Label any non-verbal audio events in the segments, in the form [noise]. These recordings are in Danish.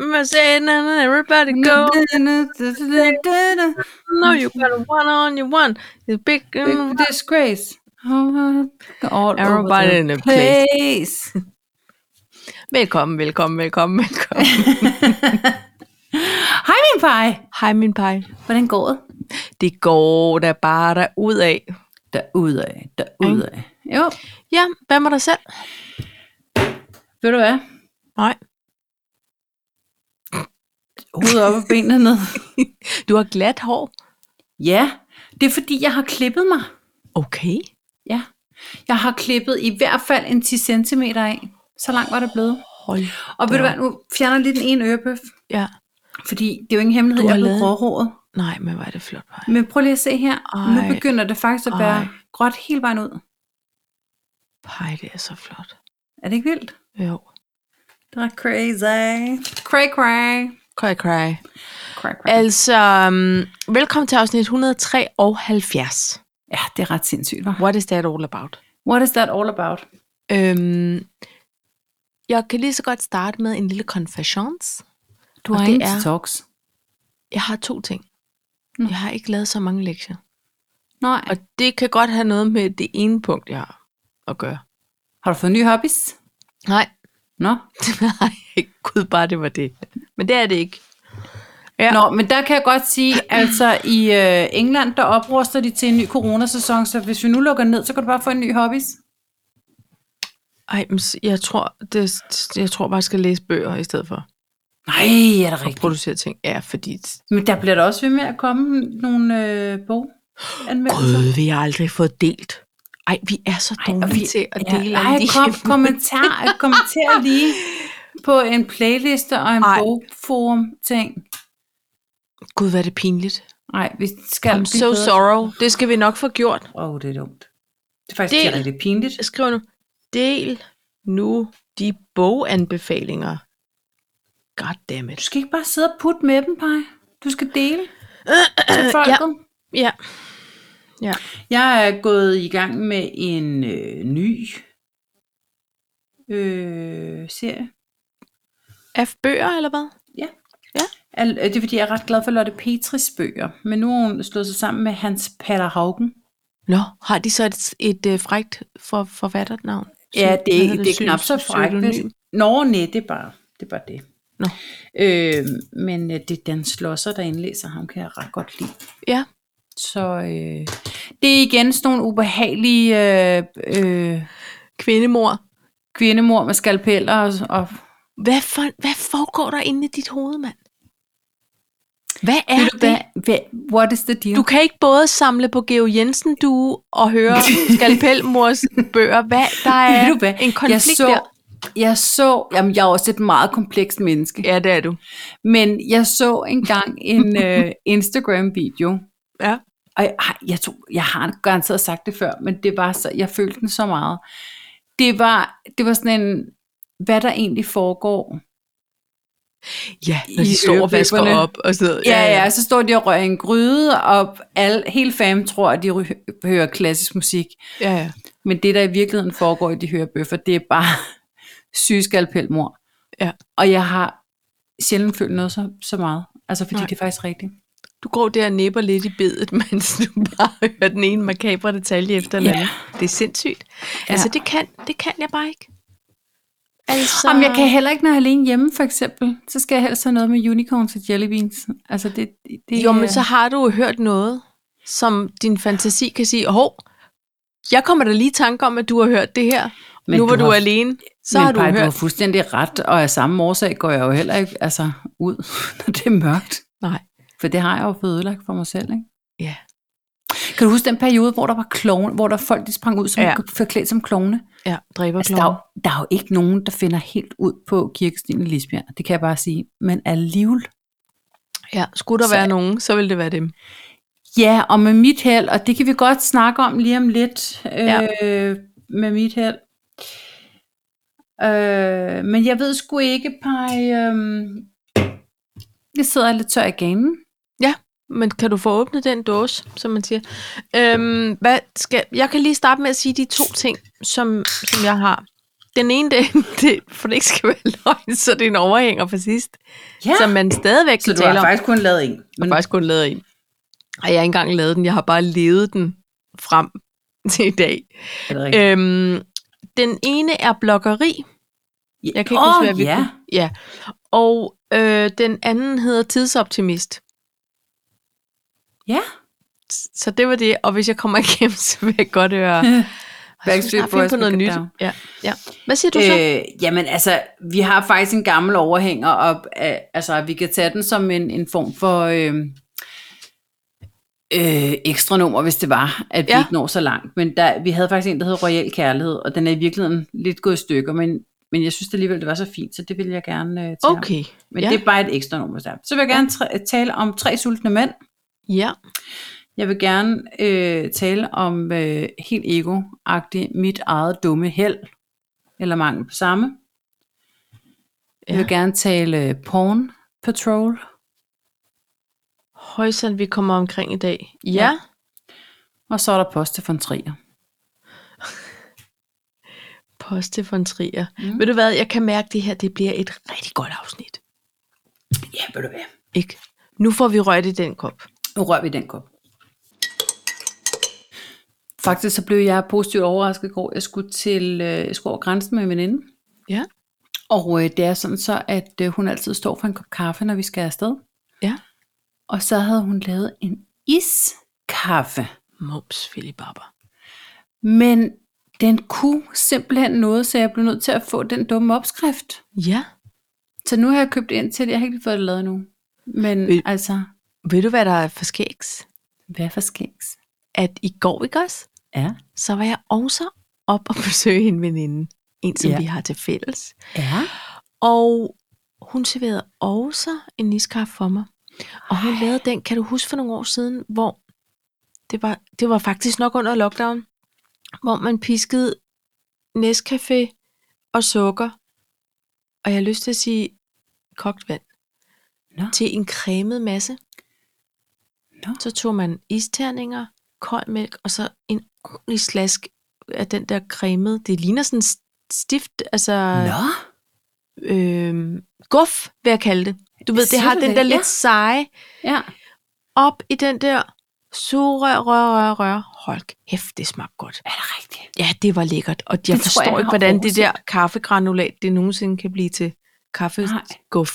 remember saying, "Na, na, everybody go. No, you got a one on your one. It's big. mm, and Big disgrace. All over Everybody the in the place. place. Velkommen, velkommen, velkommen, velkommen. Hej min pej. [laughs] Hej min pej. Hvordan går det? Det går da bare der ud af. Derudad, derudad. Jo, Ja, hvad med dig selv? ved du hvad? Nej. Hovedet op og benene [laughs] ned. Du har glat hår. Ja, det er fordi, jeg har klippet mig. Okay. Ja. Jeg har klippet i hvert fald en 10 cm af. Så langt var det blevet. Hold. Og ved du da hvad, nu fjerner jeg lige den ene ørebøf. Ja. Fordi det er jo ingen hemmelighed, Du jeg er har blevet lavet- gråhåret. Nej, men var det flot. Paj. Men prøv lige at se her. Ej. Ej. Nu begynder det faktisk at være Ej. gråt hele vejen ud. Pej, det er så flot. Er det ikke vildt? Jo. Det er crazy. Cray, cray. Cry, cry. cray, cray. Altså, um, velkommen til afsnit 173. Ja, det er ret sindssygt, hva'? What is that all about? What is that all about? Øhm, jeg kan lige så godt starte med en lille confessions. Du Og har det ingen er- talks. Jeg har to ting. Nå. Jeg har ikke lavet så mange lektier. Nej. Og det kan godt have noget med det ene punkt, jeg har at gøre. Har du fået nye hobbies? Nej, Nå. [laughs] nej, gud bare det var det. Men det er det ikke. Ja. Ja. Nå, men der kan jeg godt sige, altså i øh, England, der opruster de til en ny coronasæson, så hvis vi nu lukker ned, så kan du bare få en ny hobbies. Ej, men s- jeg tror, det, jeg tror bare, jeg skal læse bøger i stedet for Nej, er det at producere ting. Ja, fordi Men der bliver der også ved med at komme nogle øh, boganmeldelser. gud, vi har aldrig fået delt. Ej, vi er så og dårlige vi- til at Ja, dele ej, alle de kom, kommenter, kommenter [laughs] lige på en playliste og en Ej. bogforum-ting. Gud, hvad er det pinligt. Nej, vi skal I'm so sorrow. Det skal vi nok få gjort. Åh, oh, det er dumt. Det er faktisk Del. det... rigtig pinligt. Skriv nu. Del nu de boganbefalinger. God damn [clears throat] Du it. skal ikke bare sidde og putte med dem, Paj. Du skal [clears throat] dele til folket. Ja. Ja. Jeg er gået i gang med en øh, ny øh, serie. Af bøger, eller hvad? Al- øh, Det er fordi, jeg er ret glad for Lotte Petris bøger. Men nu har hun slået sig sammen med Hans Paller Haugen. Nå, har de så et, et øh, frægt for, forfatternavn? Ja, Sy- det, hvad er- hedder det er knap Sy- så frækt. pseudonym? hvis- Nå, nej, det er bare det. Er bare det. Nå. Øh, men øh, det er Dan Slosser, der indlæser ham, kan jeg ret godt lide. Ja. Så øh, det er igen sådan nogle ubehagelige øh, øh, Kvindemor. kvindemor med skalpeller. Og, og, Hvad, for, hvad foregår der inde i dit hoved, mand? Hvad er Ved det? du hvad, hvad, what is the deal? Du kan ikke både samle på Geo Jensen du og [laughs] høre Skalpelmors bøger. Hvad? Der er Ved du hvad? en konflikt jeg så, der. Jeg så, jamen jeg er også et meget komplekst menneske, Ja, det er du. men jeg så engang [laughs] en øh, Instagram-video, Ja. og jeg, ej, jeg, tror, jeg har garanteret sagt det før, men det var så, jeg følte den så meget. Det var, det var sådan en, hvad der egentlig foregår. Ja, når I de står og vasker øreblipperne. op og sådan noget. Ja, ja, og Øh, så står de og rører i en gryde, og al, hele fam tror, at de ry- hører klassisk musik. ja, ja. Men det, der i virkeligheden foregår i de hørebøffer, det er bare [laughs] sygeskalpelmor. Ja. Og jeg har sjældent følt noget så, så meget. Altså, fordi Nej. Nej. det er faktisk rigtigt. Du går der og nipper lidt i bedet, [laughs] mens du bare hører den ene makabre detalje efter den Ja. anden. Det er sindssygt. Ja. Altså, det kan, det kan jeg bare ikke. Altså, Så... Jamen, jeg kan heller ikke, når jeg er alene hjemme, for eksempel. Så skal jeg helst have noget med unicorns og jellybeans. Altså, det, det, det Jo, men så har du jo hørt noget, som din fantasi kan sige, hov, jeg kommer da lige i tanke om, at du har hørt det her. Men Men nu var du du, du har- alene, så men har du Paj, du har hørt. fuldstændig ret, og af samme årsag går jeg jo heller ikke altså, ud, [laughs] når det er mørkt. Nej. For det har jeg jo fået ødelagt for mig selv, ikke? Ja. Kan du huske den periode, hvor der var klovne, hvor der folk, de sprang ud som Ja. ja. forklædt som klovne? Ja, dræber Altså, der, er jo, der er jo ikke nogen, der finder helt ud på kirkestien i Lisbjerg. Det kan jeg bare sige. Men alligevel. Ja, skulle der Så- være nogen, så vil det være dem. Ja, og med mit held, og det kan vi godt snakke om lige om lidt. Øh, Ja. Med mit held. Øh, men jeg ved sgu ikke, Paj. Øh, jeg sidder lidt tør i ganen. Men kan du få åbnet den dåse, som man siger? Øhm, hvad skal, jeg kan lige starte med at sige de to ting, som, som jeg har. den ene, det, [laughs] det, for det ikke skal være løgn, så det er en overhænger for sidst, ja. Ja. som man stadigvæk Så kan du har tale om. faktisk kun lavet en. Jeg har faktisk kun lavet en. Og jeg har ikke engang lavet den, jeg har bare levet den frem til i dag. er det rigtigt? Øhm, den ene er blokkeri, jeg kan ikke Åh, huske, hvad vi- ja. og øh, den anden hedder tidsoptimist. ja. Så det var det, og hvis jeg kommer [laughs] igennem, så vil jeg godt [laughs] høre. Backstreet Jeg skal snart finde på Boys, noget Look nyt. At Down. Ja, ja. Hvad siger du så? Øh, jamen altså, vi har faktisk en gammel overhænger, og øh, altså, vi kan tage den som en, en form for øh, øh, ekstra nummer, hvis det var, at vi Ja. ikke når så langt. Men der, vi havde faktisk en, der hed Royal Kærlighed, og den er i virkeligheden lidt gået i stykker, men, men jeg synes det alligevel, det var så fint, så det vil jeg gerne øh, tage om. Okay. Men ja. det er bare et ekstra nummer, hvis der. er. Så vil jeg gerne tra- tale om tre sultne mænd. ja. Jeg vil gerne øh, tale om øh, helt ego mit eget dumme held, eller mangel på samme. Jeg Ja. vil gerne tale øh, Porn Patrol. Højsand, vi kommer omkring i dag. Ja. Ja. ja. Og så er der Poste von Trier. Poste von Trier. Mm. Mm. Ved du hvad, jeg kan mærke det her, det bliver et rigtig godt afsnit. Ja, ved du hvad? Ikke? Nu får vi rørt i den kop. Nu rører vi den kop. Faktisk så blev jeg positivt overrasket i går. Jeg skulle, til, øh, jeg skulle over grænsen med en veninde. Ja. Og øh, det er sådan så, at øh, hun altid står for en kop kaffe, når vi skal afsted. Ja. Og så havde hun lavet en iskaffe. Mums, Philip Barber. Men den kunne simpelthen noget, så jeg blev nødt til at få den dumme opskrift. Ja. Så nu har jeg købt ind til det. Jeg har ikke lige fået det lavet endnu. Men Vil- altså, Ved du, hvad der er for skægs? hvad for skægs? At i går, ikke også? Ja. Så var jeg også op og [laughs] besøge en veninde. En, som Ja. ja. vi har til fælles. Ja. Og hun serverede også en iskaffe for mig. Og hun Ej. lavede den, kan du huske for nogle år siden, hvor det var, det var faktisk nok under lockdown, hvor man piskede Nescafé og sukker, og jeg har lyst til at sige kogt vand, Nå. til en cremet masse. Nå. Så tog man isterninger, kold mælk, og så en ordentlig slask af den der cremede. Det ligner sådan stift, altså Nå. øh, guf, vil jeg kalde det. Du ved, det Siger har du den det? der Ja. lidt seje Ja. op i den der surrør, rør, rør, rør. Hold kæft, det smagte godt. Er det rigtigt? Ja, det var lækkert. Og jeg jeg, forstår jeg ikke, har hvordan det overset. der kaffegranulat, det nogensinde kan blive til Nej. kaffeguf.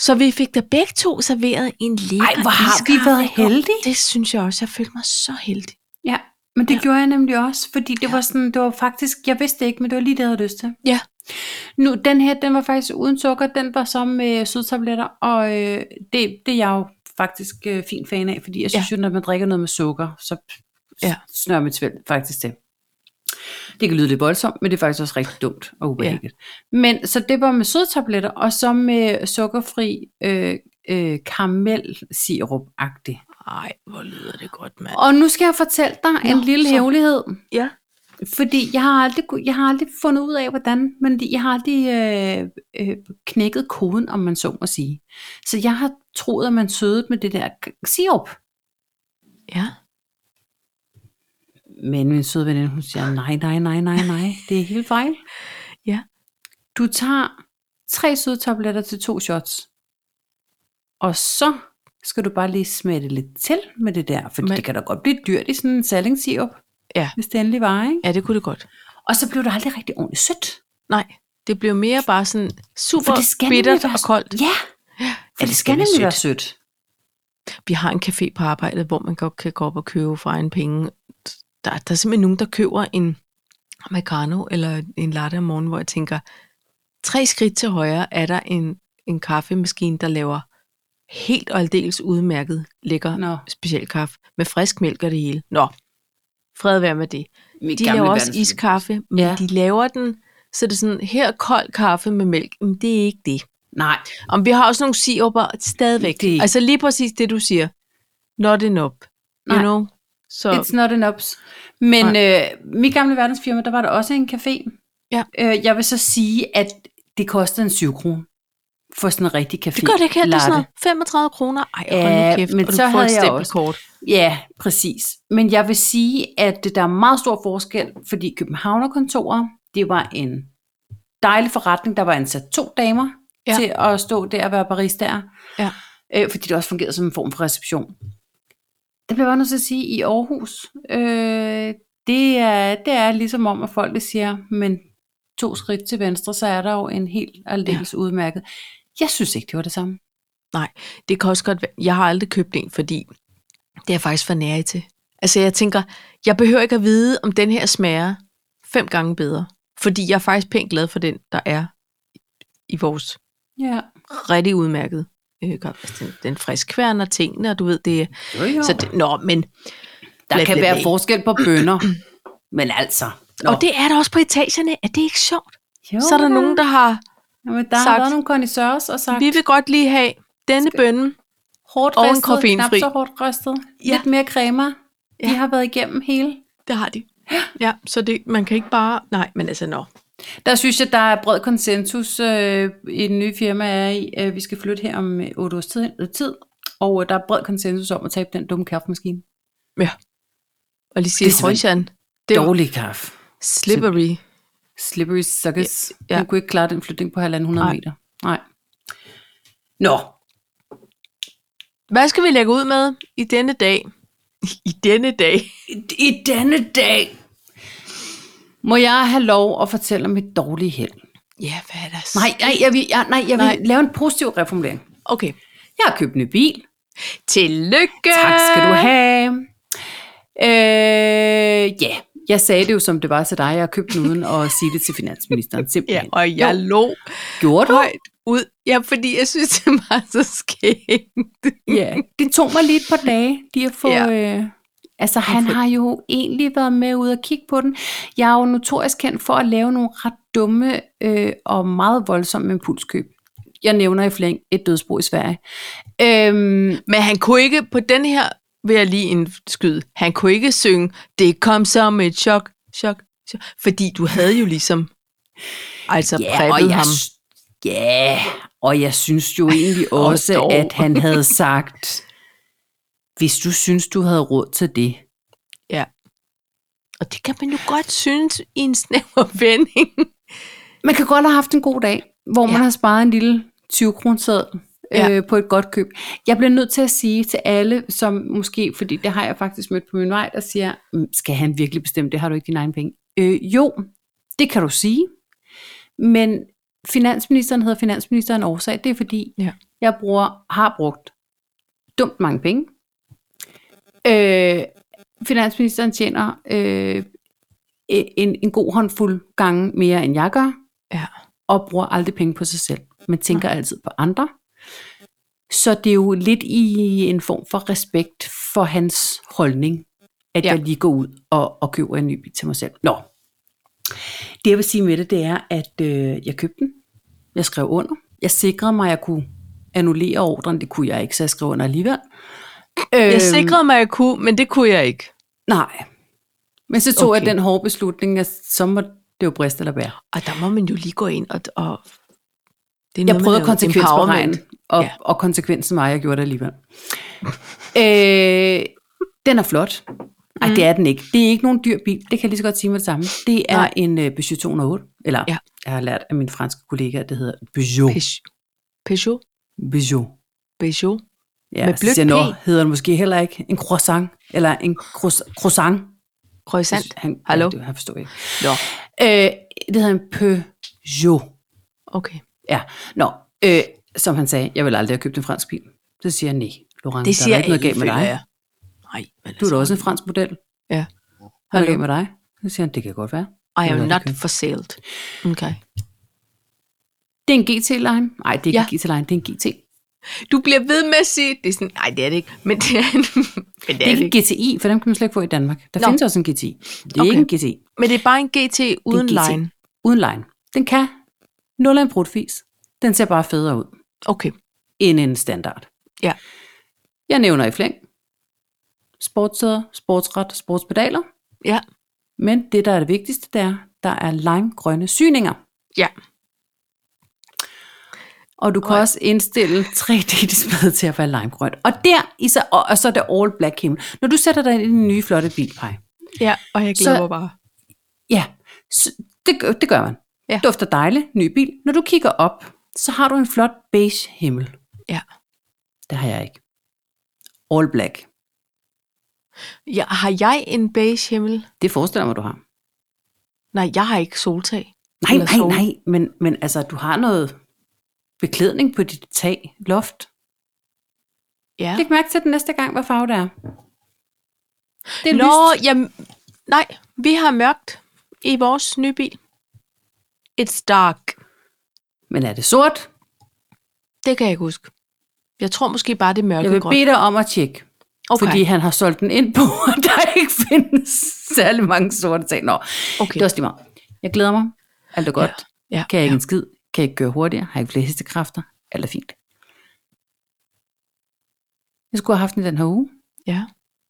Så vi fik da begge to serveret en lækker Ej, hvor har vi iskaffe. været heldige. Det synes jeg også. Jeg følte mig så heldig. Ja, men det ja. gjorde jeg nemlig også, fordi det ja. var sådan, det var faktisk, jeg vidste det ikke, men det var lige det, jeg havde lyst til. Ja. Nu, den her, den var faktisk uden sukker, den var så med sødtabletter, og øh, det, det er jeg jo faktisk øh, fin fan af, fordi jeg synes ja. jo, når man drikker noget med sukker, så ja. Ja. snører man tvivl faktisk til. Det kan lyde lidt voldsomt, men det er faktisk også rigtig dumt og ubehageligt. Ja. Men så det var med sødtabletter, og så med sukkerfri øh, øh, karamel-sirup-agtig. Ej, hvor lyder det godt, mand. Og nu skal jeg fortælle dig en Nå, lille så- hemmelighed. Ja. Fordi jeg har aldrig, ku- jeg har aldrig fundet ud af, hvordan, men jeg har aldrig øh, øh, knækket koden, om man så må sige. Så jeg har troet, at man sødede med det der k- sirup. Ja. Men min søde veninde, hun siger, nej, nej, nej, nej, nej, det er helt [laughs] fejl. Ja. Du tager tre sødetabletter til to shots. Og så skal du bare lige smette lidt til med det der, for Men- det kan da godt blive dyrt i sådan en salingsirup. Ja. Hvis det endelig var, ikke? Ja, det kunne det godt. Og så blev det aldrig rigtig ordentligt sødt. Nej, det blev mere bare sådan For super det skal nemlig bittert være og s- koldt. Ja, For det skal nemlig være sødt. vi har en café på arbejdet, hvor man godt kan gå op og købe for egen penge. Der, der er simpelthen nogen, der køber en americano eller en latte om morgenen, hvor jeg tænker, tre skridt til højre er der en, en kaffemaskine, der laver helt og aldeles udmærket lækker Nå, speciel kaffe med frisk mælk og det hele. Nå, fred være med det. mit De laver også iskaffe, men Ja. ja. de laver den, så det er sådan, her er kold kaffe med mælk, men det er ikke det. Nej, Om vi har også nogle siruper stadigvæk. Det- Det. Altså lige præcis det, du siger. Not enough. You Nej. know? Så it's not an ups. Men øh, mit gamle verdensfirma, der var der også en café. Ja. Øh, jeg vil så sige, at det kostede en 7 kroner for sådan en rigtig café. det gør det ikke her. Det er latte. sådan noget 35 kroner. Ej, hold Ja, nu kæft. men og du så får havde et jeg stempelkort. Ja, præcis. Men jeg vil sige, at der er meget stor forskel, fordi københavnerkontorer, Det var en dejlig forretning. Der var ansat to damer Ja. ja. til at stå der og være baristaer. Ja. Øh, fordi det også fungerede som en form for reception. Det bliver jeg bare nødt til at sige, i Aarhus, øh, det, er, det er ligesom om, at folk siger, men to skridt til venstre, så er der jo en helt aldeles ja. udmærket. Jeg synes ikke, det var det samme. Det kan også godt være. Jeg har aldrig købt en, fordi det er jeg faktisk for nær til. Altså jeg tænker, jeg behøver ikke at vide, om den her smager fem gange bedre. Fordi jeg er faktisk pænt glad for den, der er i vores Ja. rigtig udmærket øh, kaffe. Altså, den, den friskkværner tingene, og du ved det. Jo, jo. Så det, nå, men... Der Blæ, kan blæ, være blæ. forskel på bønder, [clears throat] men altså. Nå. Og det er der også på etagerne. Er det ikke sjovt? jo, Så er der nogen, der har... Jamen, der sagt- har været nogle connoisseurs og sagt, Vi vil godt lige have denne bønne. hårdt Og en ristet, knap koffeinfri. så hårdt ristet, Ja. ja. lidt mere cremer. De Ja. har været igennem hele. Det har de. Ja, så det, man kan ikke bare... Nej, men altså, nå. Der synes jeg, der er bred konsensus øh, i den nye firma, jeg er i. Øh, vi skal flytte her om øh, otte års tid, øh, tid, og øh, der er bred konsensus om at tabe den dumme kaffemaskine. Og lige sige, Det er simpelthen Højsjern, det er Dårlig kaffe. slippery. Slippery suckers. Ja, Ja, ja. ja. Hun kunne ikke klare den flytning på halvanden hundrede Nej. meter. Nej. Nå, Hvad skal vi lægge ud med i denne dag? [laughs] I denne dag? i, i denne dag må jeg have lov at fortælle om et dårligt held. Ja, hvad er der? så? Nej, nej, jeg vil, jeg, nej, jeg vil Nej. nej. lave en positiv reformulering. Okay. Jeg har købt en ny bil. Tillykke! Tak skal du have. Øh, ja, jeg sagde det jo, som det var til dig. Jeg har købt den uden at sige det til [laughs] finansministeren. Ja, Simpelthen. og jeg Jo. lå Gjorde du? højt ud. Ja, fordi jeg synes, [laughs] det var så skægt. Ja. Det tog mig lige et par dage, lige at få... Ja. Øh, altså, han har jo egentlig været med ud og kigge på den. Jeg er jo notorisk kendt for at lave nogle ret dumme øh, og meget voldsomme impulskøb. Jeg nævner i flæng et dødsbrug i Sverige. Øhm, Men han kunne ikke, på den her vil jeg lige indskyde, han kunne ikke synge, det kom som et chok, chok, chok. Fordi du havde jo ligesom, altså yeah, og præppet jeg ham. sy- Ja, og jeg [laughs] synes jo egentlig Og også, dog. at han havde sagt, hvis du synes, du havde råd til det. Og det kan man jo godt synes i en snæver [laughs] vending. Man kan godt have haft en god dag, hvor ja. Ja. man har sparet en lille 20 kroner Ja. ja. øh, på et godt køb. Jeg bliver nødt til at sige til alle, som måske, fordi det har jeg faktisk mødt på min vej, der siger, "Mm, skal han virkelig bestemme det, har du ikke dine egne penge? Øh, jo, det kan du sige, men finansministeren hedder finansministeren årsag, det er fordi, Ja. jeg bruger, har brugt dumt mange penge. Øh, finansministeren tjener øh, e-, en, en god håndfuld gange mere, end jeg gør Ja. og bruger aldrig penge på sig selv, men tænker altid på andre. Så det er jo lidt i en form for respekt for hans holdning, at Ja. ja. jeg lige går ud og, og køber en ny bil til mig selv. Nå. Det jeg vil sige med det, det er, at øh, jeg købte den. Jeg skrev under. Jeg sikrede mig, at jeg kunne annullere ordren. Det kunne jeg ikke, så jeg skrev under alligevel. Jeg Øhm, sikrede mig, at jeg kunne, men det kunne jeg ikke. Nej. Men så tog okay. Okay. jeg den hårde beslutning, at så må det jo briste eller bære. Og der må man jo lige gå ind og... og det er Jeg prøvede at med noget konsekvensberegne, empowerment. og, Ja. ja. og konsekvensen var, at jeg gjorde det alligevel. [laughs] øh, den er flot. Nej, det er den ikke. Det er ikke nogen dyr bil. Det kan jeg lige så godt sige med det samme. Det er Nej. Nej. en uh, Peugeot 208. Eller, Ja. ja. jeg har lært af min franske kollega, at det hedder Peugeot. Peugeot. Peugeot. Peugeot. Peugeot. Ja, Med med blødt blødt P. Nå, hedder den måske heller ikke en croissant. Eller en croissant. croissant. Croissant. Han, Hallo? Ja, det, han forstår ikke. Nå, Øh, det hedder en Peugeot. okay. Ja, nå, øh, som han sagde, jeg vil aldrig have købt en fransk bil. Så siger jeg, nej, Laurent, det siger der er ikke noget galt med føler dig. jeg. Nej, men altså. Du er da også en fransk model. Ja. Hvad er Hallo. der galt med dig? Så siger han, det kan godt være. I am Eller not det for sale. Okay. Det er en GT-line. Nej, det er ikke Ja. ja. en GT-line, det er en GT. Du bliver ved med at sige, det er sådan, nej, det er det ikke, [laughs] men det er, men det Det er er det ikke ikke. en GTI, for dem kan man slet ikke få i Danmark. Der Nå. nå. findes også en GTI. Det Okay. er okay. ikke en GTI. Men det er bare en GT uden GT. line. Uden line. Den kan. Nul af en brudfis. Den ser bare federe ud, Okay, end en standard. Ja. Jeg nævner i flæng. Sportssæder, sportsret, sportspedaler. ja. Men det, der er det vigtigste, det er, der er limegrønne syninger. Ja. Og du kan Og- også indstille 3D-displayet til at være limegrønt. Og der i så, og, og så er det all black himmel. Når du sætter dig ind i den nye flotte bilpej, Ja, og jeg Så- glemmer bare. ja, så, Det, gør- det gør man. Ja. Dufter dejligt, ny bil. Når du kigger op, så har du en flot beige himmel. Ja. Det har jeg ikke. All black. Ja, har jeg en beige himmel? Det forestiller jeg mig, du har. Nej, jeg har ikke soltag. Nej, Eller nej, sol. nej. Men, men altså, du har noget beklædning på dit tag, loft. Ja. Ja. Læg mærke til den næste gang, hvad farve det er. Det er lyst. Nå, jamen, nej, vi har mørkt i vores nye bil. It's dark. Men er det sort? Det kan jeg ikke huske. Jeg tror måske bare, det er Jeg mørke vil godt. bede dig om at tjekke. Okay. Okay. Fordi han har solgt den ind på, [laughs] at der ikke findes særlig mange sorte ting. Nå, okay. Okay. det er også lige meget. Jeg glæder mig. Alt er godt. Ja, Kan jeg ikke ja. en skid? Kan jeg ikke køre hurtigere? Har jeg ikke flere hestekræfter? Alt er fint. Jeg skulle have haft den i den her uge. ja.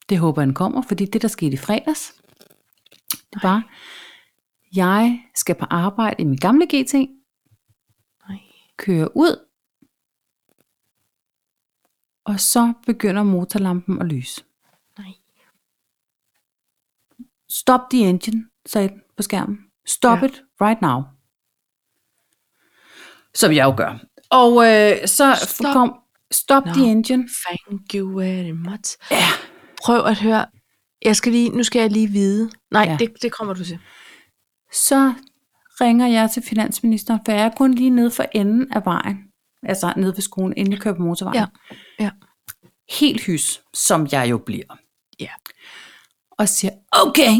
Det håber han kommer, fordi det, der skete i fredags, det var, jeg skal på arbejde i min gamle GT, Nej. køre ud, og så begynder motorlampen at lyse. Nej. Stop the engine, sagde den på skærmen. Stop Ja. ja. it right now. Som jeg jo gør. Og øh, så Stop. stop. kom, stop Nå. no. the engine. Thank you very much. Ja. Prøv at høre. Jeg skal lige, nu skal jeg lige vide. Nej, ja. Ja. det, det kommer du til. så ringer jeg til finansministeren, for jeg er kun lige nede for enden af vejen. Altså nede ved skolen, inden jeg kører på motorvejen. Ja, ja. Helt hys, som jeg jo bliver. Ja. Og siger, okay,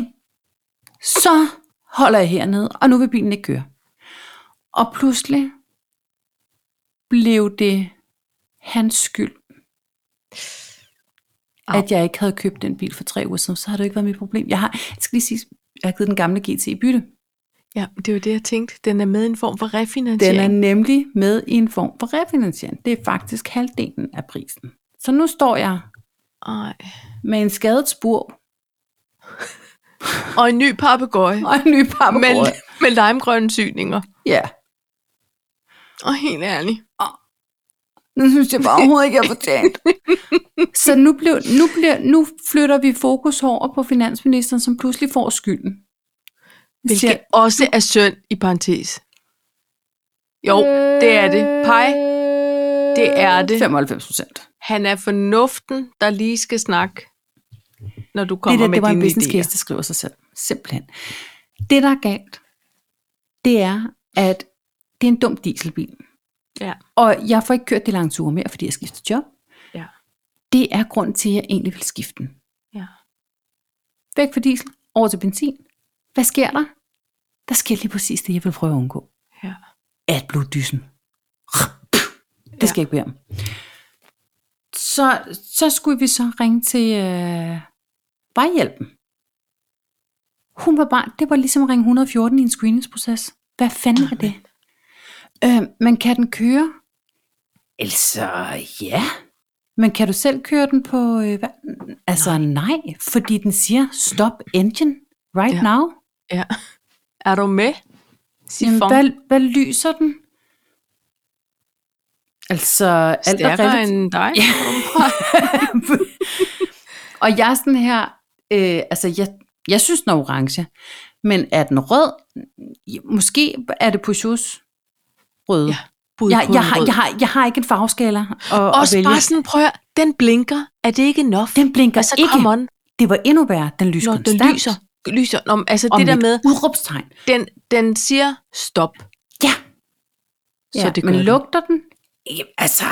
så holder jeg hernede, og nu vil bilen ikke køre. Og pludselig blev det hans skyld, Au. at jeg ikke havde købt den bil for tre uger siden, så har det jo ikke været mit problem. Jeg har, jeg skal lige sige, jeg har givet den gamle GT i bytte. Ja, det var det, jeg tænkte. Den er med i en form for refinansiering. Den er nemlig med i en form for refinansiering. Det er faktisk halvdelen af prisen. Så nu står jeg Ej. med en skadet spor Og en ny papegøje og en ny par med, med limegrønne syninger. Ja. Og helt ærligt. Nu synes jeg bare overhovedet ikke, jeg fortjent. [laughs] Så nu, blev, nu, bliver, nu flytter vi fokus over på finansministeren, som pludselig får skylden. Hvilket Siger- også er synd i parentes. Jo, Øh. det er det. Pej, det er det. 95 procent. han er fornuften, der lige skal snakke, når du kommer det der, med det var en dine business idéer. case, der skriver sig selv. Simpelthen. Det, der er galt, det er, at det er en dum dieselbil. Ja. Og jeg får ikke kørt det lange ture mere, fordi jeg skifter job. Ja. Det er grund til, at jeg egentlig vil skifte den. Ja. Væk fra diesel, over til benzin. Hvad sker der? Der sker lige præcis det, jeg vil prøve at undgå. Ja. At blive dyssen. Ja. Det skal jeg ikke bede om. Så, så skulle vi så ringe til øh, vejhjælpen. Hun var bare, det var ligesom at ringe 114 i en screeningsproces. Hvad fanden er det? Øh, men kan den køre? Altså, ja. Men kan du selv køre den på... Øh, hvad? Altså, nej. nej, fordi den siger, stop engine right Ja. ja. now. Ja. Er du med? Jamen, Sifon. hvad, hvad lyser den? Altså, alt er Stærkere relativt. end dig? Ja. [laughs] og jeg er sådan her, øh, altså jeg, jeg synes den er orange, men er den rød? Måske er det Peugeots røde. Ja, Ja, Bud jeg, på jeg, en har, rød. jeg, har, jeg har ikke en farveskala at, at Også vælge. bare sådan, prøv at høre, den blinker. Er det ikke enough? Den blinker altså, ikke. come on, Det var endnu værre, den lyser når den konstant. lyser. lyser. Nå, men altså Og det der med, et udråbstegn. den, den siger stop. Ja. Så det men gør den. lugter den? Jamen, altså,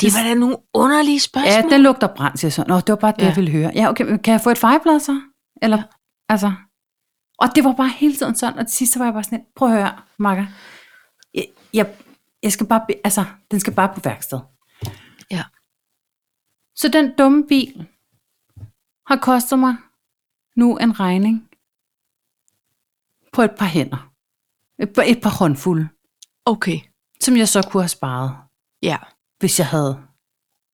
Det var da nogle underlige ja, spørgsmål. den lugter brændt, siger jeg så. Nå, det var bare det, Ja. ja. jeg ville høre. Ja, okay, men kan jeg få et fireblad så? Eller, ja. altså. Og det var bare hele tiden sådan, og til sidst så var jeg bare sådan, lidt, prøv at høre, Marker. Jeg, jeg, jeg skal bare, be- altså, den skal bare på værksted. Ja. Så den dumme bil har kostet mig nu en regning på et par hænder. Et par, et par håndfulde, Okay, som jeg så kunne have sparet, ja. hvis jeg havde.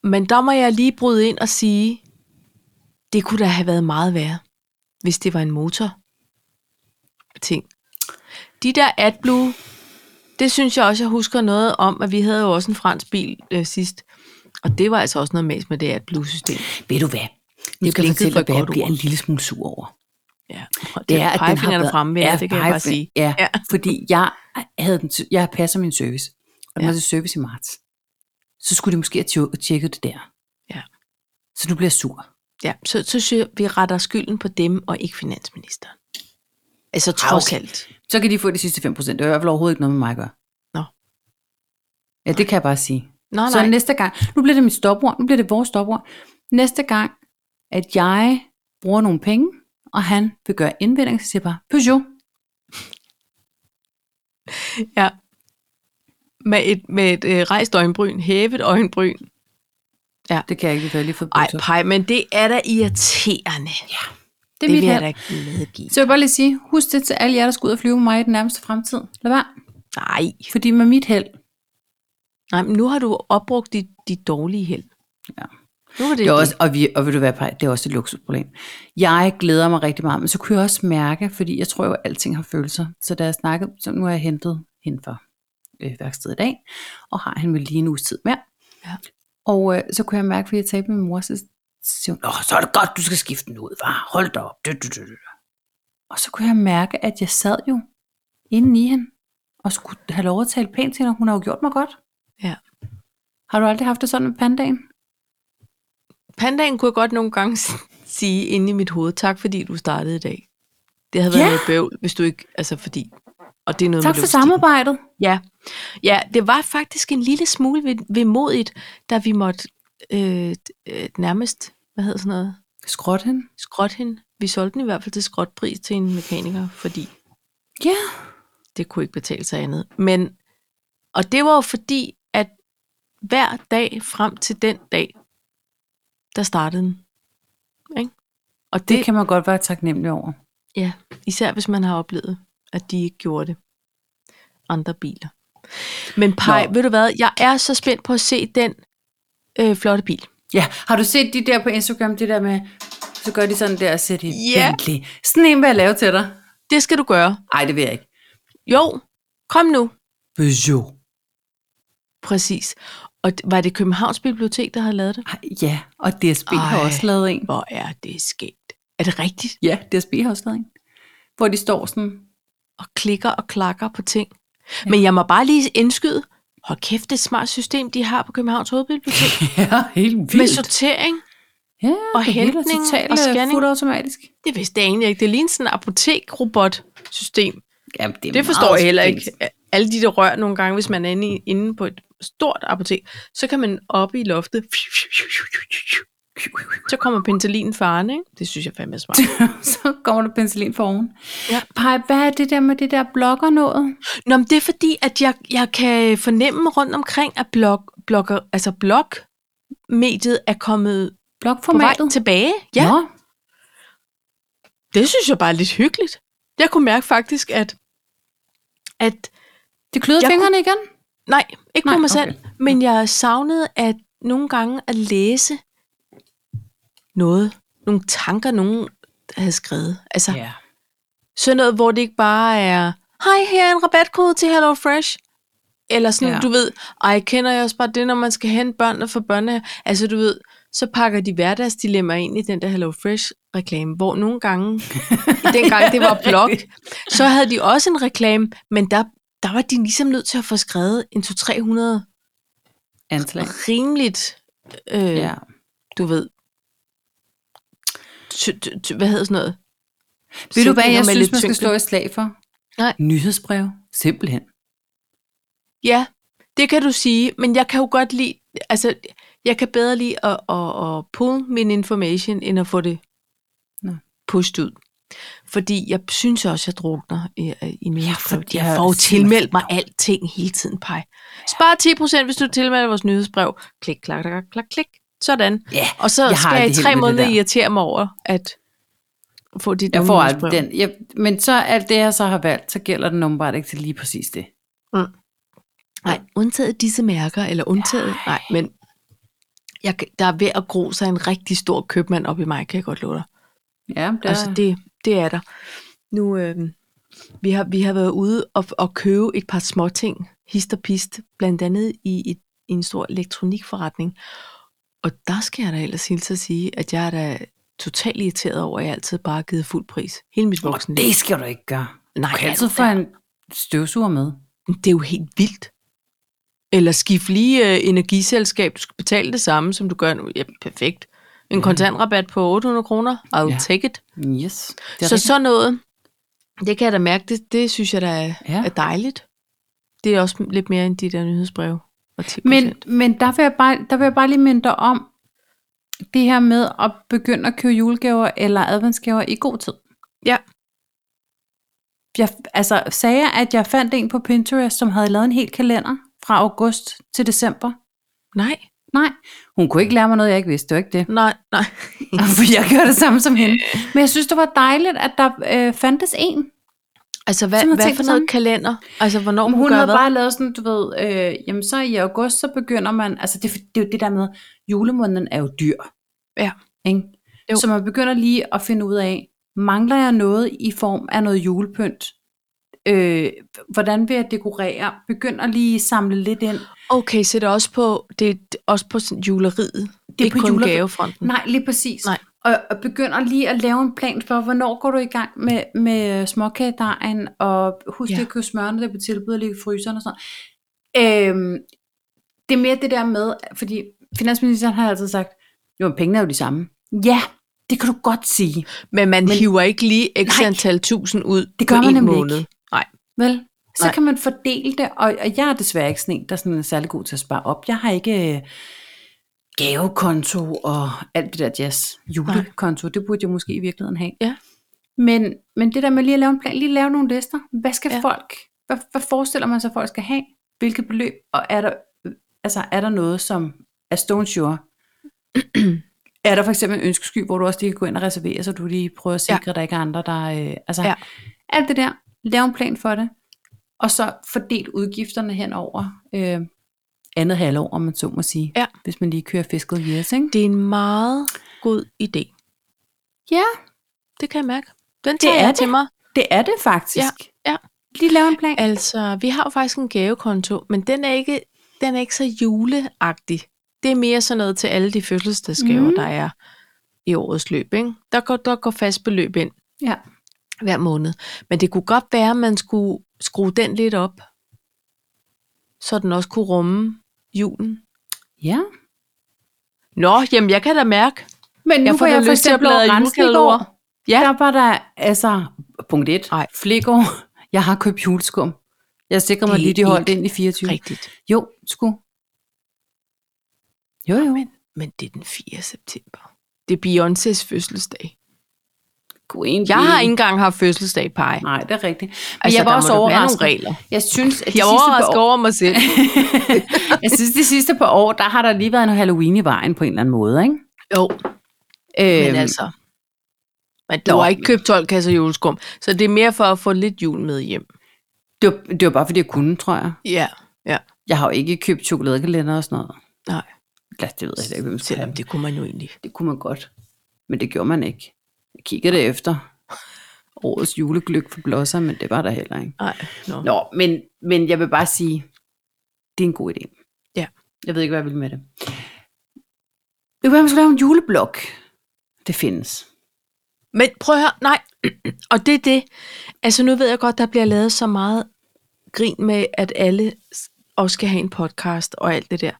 Men der må jeg lige bryde ind og sige, det kunne da have været meget værre, hvis det var en motor ting. De der AdBlue, det synes jeg også, jeg husker noget om, at vi havde jo også en fransk bil øh, sidst. Og det var altså også noget mæs med det AdBlue-system. Ved du hvad? Nu Det skal jeg blinkede fortælle for dig, et hvad jeg godt bliver ord. en lille smule sur over. Ja, og det, det er, at den har været, fremme med, ja, det kan jeg bare pegefin- sige. Ja, Ja. ja, fordi jeg, havde den, til- jeg passer min service, og den Ja. ja. var til service i marts. Så skulle de måske have tjo- tjekket det der. Ja. Så nu bliver jeg sur. Ja, så, så synes jeg, vi retter skylden på dem og ikke finansministeren. Altså trods okay. alt. Så kan de få de sidste 5 procent. Det er i hvert fald overhovedet ikke noget med mig at gøre. Nå. Ja, det kan jeg bare sige. Nå, nej. Så næste gang, nu bliver det mit stopord, nu bliver det vores stopord. Næste gang, at jeg bruger nogle penge, og han vil gøre indvending, så siger jeg bare, Peugeot. Ja. Med et, med et øh, rejst øjenbryn, hævet øjenbryn. Det kan jeg ikke, det har jeg lige fået Ej, bukser. pej, men det er da irriterende. Ja, det det, det er mit vil jeg held. da ikke medgive. Så jeg vil bare lige sige, husk det til alle jer, der skal ud og flyve med mig i den nærmeste fremtid. Lad være, Nej. fordi med mit held, Nej, men nu har du opbrugt dit, dit dårlige held. Ja. Nu var det, det er også, og, vi, og vil du være på, det er også et luksusproblem. Jeg glæder mig rigtig meget, men så kunne jeg også mærke, fordi jeg tror jo, at alting har følelser. Så da jeg snakkede, så nu har jeg hentet hende fra øh, værkstedet i dag, og har han vel lige en uges tid mere. Ja. Og øh, så kunne jeg mærke, fordi jeg talte med min mor, så siger hun, Åh, så er det godt, du skal skifte den ud, var. Hold da op. Du, du, du, du. Og så kunne jeg mærke, at jeg sad jo inde i hende, og skulle have lov at tale pænt til hende, og hun har jo gjort mig godt. Ja. Har du aldrig haft det sådan med pandaen? Pandaen kunne jeg godt nogle gange sige inde i mit hoved, tak fordi du startede i dag. Det havde været Ja. noget bøvl, hvis du ikke, altså fordi, og det er noget Tak med for logistikken. samarbejdet. Ja. ja, det var faktisk en lille smule ved- vemodigt, da vi måtte øh, øh, nærmest, hvad hedder sådan noget, Skråt hende? skråt hende. Vi solgte den i hvert fald til skråtpris til en mekaniker, fordi Ja. det kunne ikke betale sig andet. Men, og det var jo fordi, at hver dag frem til den dag, der startede den. Ikke? Og det, Det det kan... kan man godt være taknemmelig over. ja, især hvis man har oplevet, at de ikke gjorde det. Andre biler. Men Pej, Nå. ved du hvad, jeg er så spændt på at se den øh, flotte bil. Ja, har du set de der på Instagram, det der med, så gør de sådan der og siger de, Ja. Bentley. Sådan en vil jeg lave til dig. Det skal du gøre. Ej, det vil jeg ikke. Jo, kom nu. Peugeot. Præcis. Og d- var det Københavns Bibliotek, der havde lavet det? Ej, ja, og DSB Ej. har Ej. også lavet en. Hvor er det skægt. Er det rigtigt? Ja, DSB har også lavet en. Hvor de står sådan, og klikker og klakker på ting. Ja. Men jeg må bare lige indskyde, hold kæft, det er et smart system, de har på Københavns Hovedbibliotek. [laughs] ja, helt Med vildt. sortering, ja, og det hele er hentning totalt, og øh, scanning. fuldt automatisk. det vidste jeg egentlig ikke. Det ligner sådan en apotekrobot-system. Jamen, det, er Det forstår meget jeg heller spændende. ikke. Alle de der rør nogle gange, hvis man er inde, i, inde på et stort apotek, så kan man oppe i loftet, så kommer penicillin farne, ikke? Det synes jeg fandme er [laughs] smart. [laughs] så kommer der penicillin for oven. Ja. Pej, hvad er det der med det der blogger noget? Nå, men det er fordi, at jeg, jeg kan fornemme rundt omkring, at blog, blogger, altså blog-mediet er kommet på vej Blogformatet? tilbage. Ja, Nå, det synes jeg bare er lidt hyggeligt. Jeg kunne mærke faktisk, at, at det kløder Jeg fingrene igen. nej, ikke på Nej, mig selv, okay. Mm. men jeg savnede at nogle gange at læse noget, nogle tanker, nogen havde skrevet. Altså ja. sådan noget, hvor det ikke bare er, hej, her er en rabatkode til Hello Fresh. Eller sådan, ja. Ja. du ved, ej, kender jeg også bare det, når man skal hente børnene fra børnene. Altså, du ved, så pakker de hverdagsdilemmaer ind i den der Hello Fresh reklame, hvor nogle [laughs] gange, dengang det var blog, så havde de også en reklame, men der, der var de ligesom nødt til at få skrevet en 200 Anslag. rimeligt, øh, ja. Ja. du ved, t- t- t- hvad hedder sådan noget? Ved du Sætninger hvad, jeg med synes, lidt man skal tyngde. slå et slag for? Nej. Nyhedsbrev. Simpelthen. Ja, det kan du sige, men jeg kan jo godt lide, altså, jeg kan bedre lide at, at, at pull min information, end at få det Nå. pushed ud. Fordi jeg synes også, jeg drukner i, i min ja, fordi Jeg jeg får jo er simpelthen- tilmeldt mig alting hele tiden, Paj. Spar 10%, hvis du tilmelder vores nyhedsbrev. Klik, klak, klak, klak, klik. Sådan. Ja, Og så jeg har jeg skal jeg i aldrig held tre med det måneder der. irritere mig over, at få dit jeg dumme får nyhedsbrev. aldrig den. Jeg, men så alt det, jeg så har valgt, så gælder den åbenbart ikke til lige præcis det. Nej, undtaget disse mærker, eller undtaget, Ej. nej, men jeg, kan- der er ved at gro sig en rigtig stor købmand op i mig, kan jeg godt love dig. Ja, det Ja. Altså, det, det, det er der. Nu, øh, vi, har, vi har været ude og, og købe et par småting, hist og pist, blandt andet i, et, i en stor elektronikforretning. Og der skal jeg da ellers hilse at sige, at jeg er da totalt irriteret over, at jeg altid bare har givet fuld pris. Hele mit voksne Og det skal du ikke gøre. Nej, Du kan altså, altid få en støvsuger med. det er jo helt vildt. Eller skift lige øh, energiselskab. Du skal betale det samme, som du gør nu. Ja, perfekt. En kontantrabat på 800 kroner. I'll Mhm. Ja. ja. take it. Yes. Det er Så så, så, sådan noget, det kan jeg da mærke, det, det synes jeg da er, Ja. ja. er dejligt. Det er også lidt mere end de der nyhedsbreve. Og 10%. men, men der, vil jeg bare, der vil jeg bare lige minde dig om, det her med at begynde at købe julegaver eller adventsgaver i god tid. Ja. Jeg altså, sagde, jeg, at jeg fandt en på Pinterest, som havde lavet en hel kalender fra august til december. Nej, Nej, hun kunne ikke lære mig noget, jeg ikke vidste. Det var [laughs] ikke det. nej, nej. For jeg gør det samme som hende. Men jeg synes, det var dejligt, at der øh, fandtes en. Altså, Så man hvad, hvad tænker for noget sådan- kalender? Altså, hvornår hun, Om hun hun gør havde hvad? bare lavet sådan, du ved, øh, jamen så i august, så begynder man, altså det, det er jo det der med, julemåneden er jo dyr. Ja. Ikke? Jo. Så man begynder lige at finde ud af, mangler jeg noget i form af noget julepynt? Øh, hvordan vil jeg dekorere? Begynder lige at samle lidt ind. Okay, så det er også på, det er også på sådan juleriet. Det er ikke på kun juleri- gavefronten. Hm. Nej, lige præcis. Nej. Og, og begynder lige at lave en plan for, hvornår går du i gang med, med småkagedejen, og husk ja. Ja. at købe smørene, der er på tilbud og ligge i fryseren og sådan noget. øhm, Det er mere det der med, fordi finansministeren har altid sagt, jo, men pengene er jo de samme. Ja, det kan du godt sige. Men man Men- men, hiver ikke lige x Nej. antal tusind ud Det gør på man en nemlig måned. ikke. Nej, Vel, så Nej. Nej. kan man fordele det, og, og jeg er desværre ikke sådan en, der sådan er særlig god til at spare op. Jeg har ikke øh, gavekonto og alt det der jazz. Julekonto, det burde jeg måske i virkeligheden have. Ja. Men, men det der med lige at lave en plan, lige lave nogle lister. Hvad skal ja. Ja. folk, hvad, hvad forestiller man sig, folk skal have? Hvilket beløb? Og er der, altså, er der noget, som er stone [clears throat] sure? er der for eksempel en ønskesky, hvor du også lige kan gå ind og reservere, så du lige prøver at Ja. sikre, ja. at der ikke er andre, der... Øh, altså, ja. Ja. alt det der. Lav en plan for det. Og så fordel udgifterne hen over øh, andet halvår, om man så må sige. Ja. Hvis man lige kører fisket years, ikke? det er en meget god idé. Ja, Det kan jeg mærke. Den tager er jeg det. til mig. det er det faktisk. Ja, ja. Lige lave en plan. Altså, vi har jo faktisk en gavekonto, men den er ikke, den er ikke så juleagtig. Det er mere sådan noget til alle de fødselsdagsgaver, Mhm. mm. der er i årets løb. Ikke? Der, går, der går fast beløb ind Ja. hver måned. Men det kunne godt være, at man skulle skrue den lidt op, så den også kunne rumme julen. ja. Nå, jamen jeg kan da mærke. Men nu Jeg jeg får får da jeg for lyst til at eksempel bladre i rensen i går. julekalendere. Ja. Der var der, altså, punkt 1, Nej. flikår. Jeg har købt juleskum. Jeg sikrer mig Det er lige, de holdt ikke ind i 24. Rigtigt. Jo, sgu. Jo, jo. Men, men det er den 4. september. Det er Beyoncés fødselsdag. Jeg har ikke engang haft fødselsdag, Paj. Nej, det er rigtigt. Mm. Men Altså, jeg var der må også da være nogle overrasket. regler. Jeg synes, at de Jeg er sidste par overrasket år, over mig selv. jeg synes, de sidste par år, der har der lige været en Halloween i vejen på en eller anden måde, ikke? [laughs] Jo, Øhm, men altså... Men du nå. har ikke købt 12 kasser juleskum, så det er mere for at få lidt jul med hjem. det, var, det var bare, fordi jeg kunne, tror jeg. Ja, ja. Jeg har jo ikke købt chokoladekalender og sådan noget. Nej, Lad det ved jeg heller ikke, hvem skal selvom have. det kunne man jo egentlig. Det kunne man godt. Men det gjorde man ikke. Jeg kiggede det efter. Årets julegløk for blosser, men det var der heller ikke. Nej, no. Nå, men, men jeg vil bare sige, det er en god idé. Ja. Jeg ved ikke, hvad jeg vil med det. Det kunne være, man skulle lave en juleblok. Det findes. Men prøv at høre, nej. [clears throat] Og det er det. Altså nu ved jeg godt, der bliver lavet så meget grin med, at alle s- også skal have en podcast og alt det der.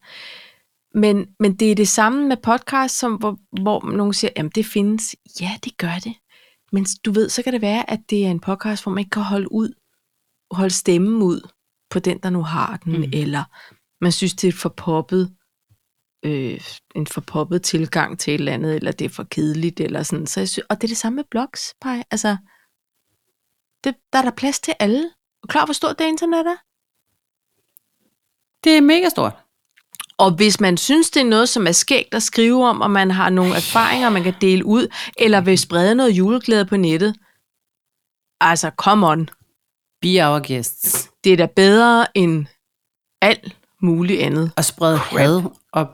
Men, men det er det samme med podcast, som, hvor, hvor nogen siger, jamen det findes. Ja, det gør det. Men s- du ved, så kan det være, at det er en podcast, hvor man ikke kan holde ud, holde stemmen ud på den, der nu har den, Mhm. mm. eller man synes, det er et forpoppet, øh, en forpoppet tilgang til et eller andet, eller det er for kedeligt, eller sådan. Så jeg synes, og det er det samme med blogs, Paj. Altså, det, der er der plads til alle. Er du klar, hvor stort det internet er? Det er mega stort. Og hvis man synes, det er noget, som er skægt at skrive om, og man har nogle erfaringer, man kan dele ud, eller vil sprede noget juleglæde på nettet, altså, come on. Be our guests. Det er da bedre end alt muligt andet. Og sprede had og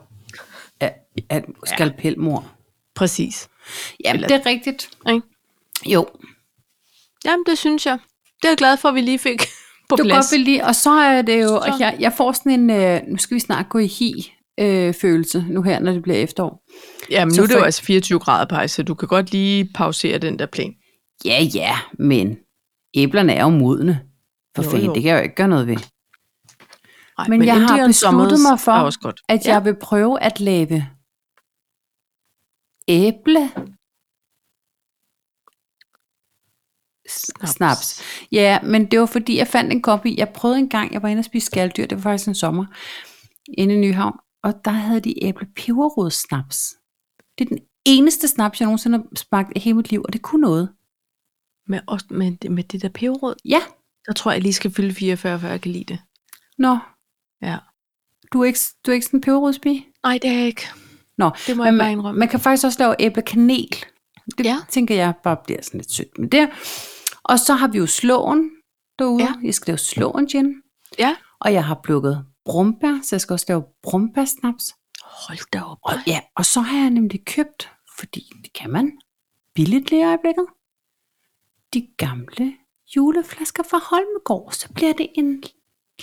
at, at skalpelmor. Præcis. Ja, Eller- det er rigtigt. Ikke? Jo. Jamen, det synes jeg. Det er jeg glad for, at vi lige fik [laughs] på Du plads. godt vil lide, og så er det jo, Så- at jeg, jeg får sådan en, øh, nu skal vi snart gå i hi øh, følelse nu her, når det bliver efterår. Jamen, Så nu er det jo for- altså 24 grader, Paj, så du kan godt lige pausere den der plan. Ja, ja, men æblerne er jo modne. For Jo, fanden, jo. det kan jeg jo ikke gøre noget ved. Nej, Men jeg har Indian besluttet Summers mig for, er også godt. At ja. jeg vil prøve at lave æble Snaps. snaps. Ja, men det var fordi, jeg fandt en copy. Jeg prøvede en gang, jeg var inde og spise skalddyr, det var faktisk en sommer, inde i Nyhavn, og der havde de æble snaps. Det er den eneste snaps, jeg nogensinde har smagt i hele mit liv, og det kunne noget. Med, også med, det- med det der peberrød, Ja, der tror jeg, jeg lige skal fylde 44, før jeg kan lide det. nå, Ja. du er ikke, du er ikke sådan en peberrodspige? Nej, det er jeg ikke. Nå, Det må Men jeg bare man, indrømme. man kan faktisk også lave æblekanel. Det ja. Ja. tænker jeg bare bliver sådan lidt sødt med det. Og så har vi jo slåen derude. Ja. Ja. Jeg skal lave slåen gin. Ja. Og jeg har plukket brumbær, så jeg skal også lave brumbærsnaps. Hold da op. Og, ja, og så har jeg nemlig købt, fordi det kan man billigt lige i øjeblikket, de gamle juleflasker fra Holmegård. Så bliver det en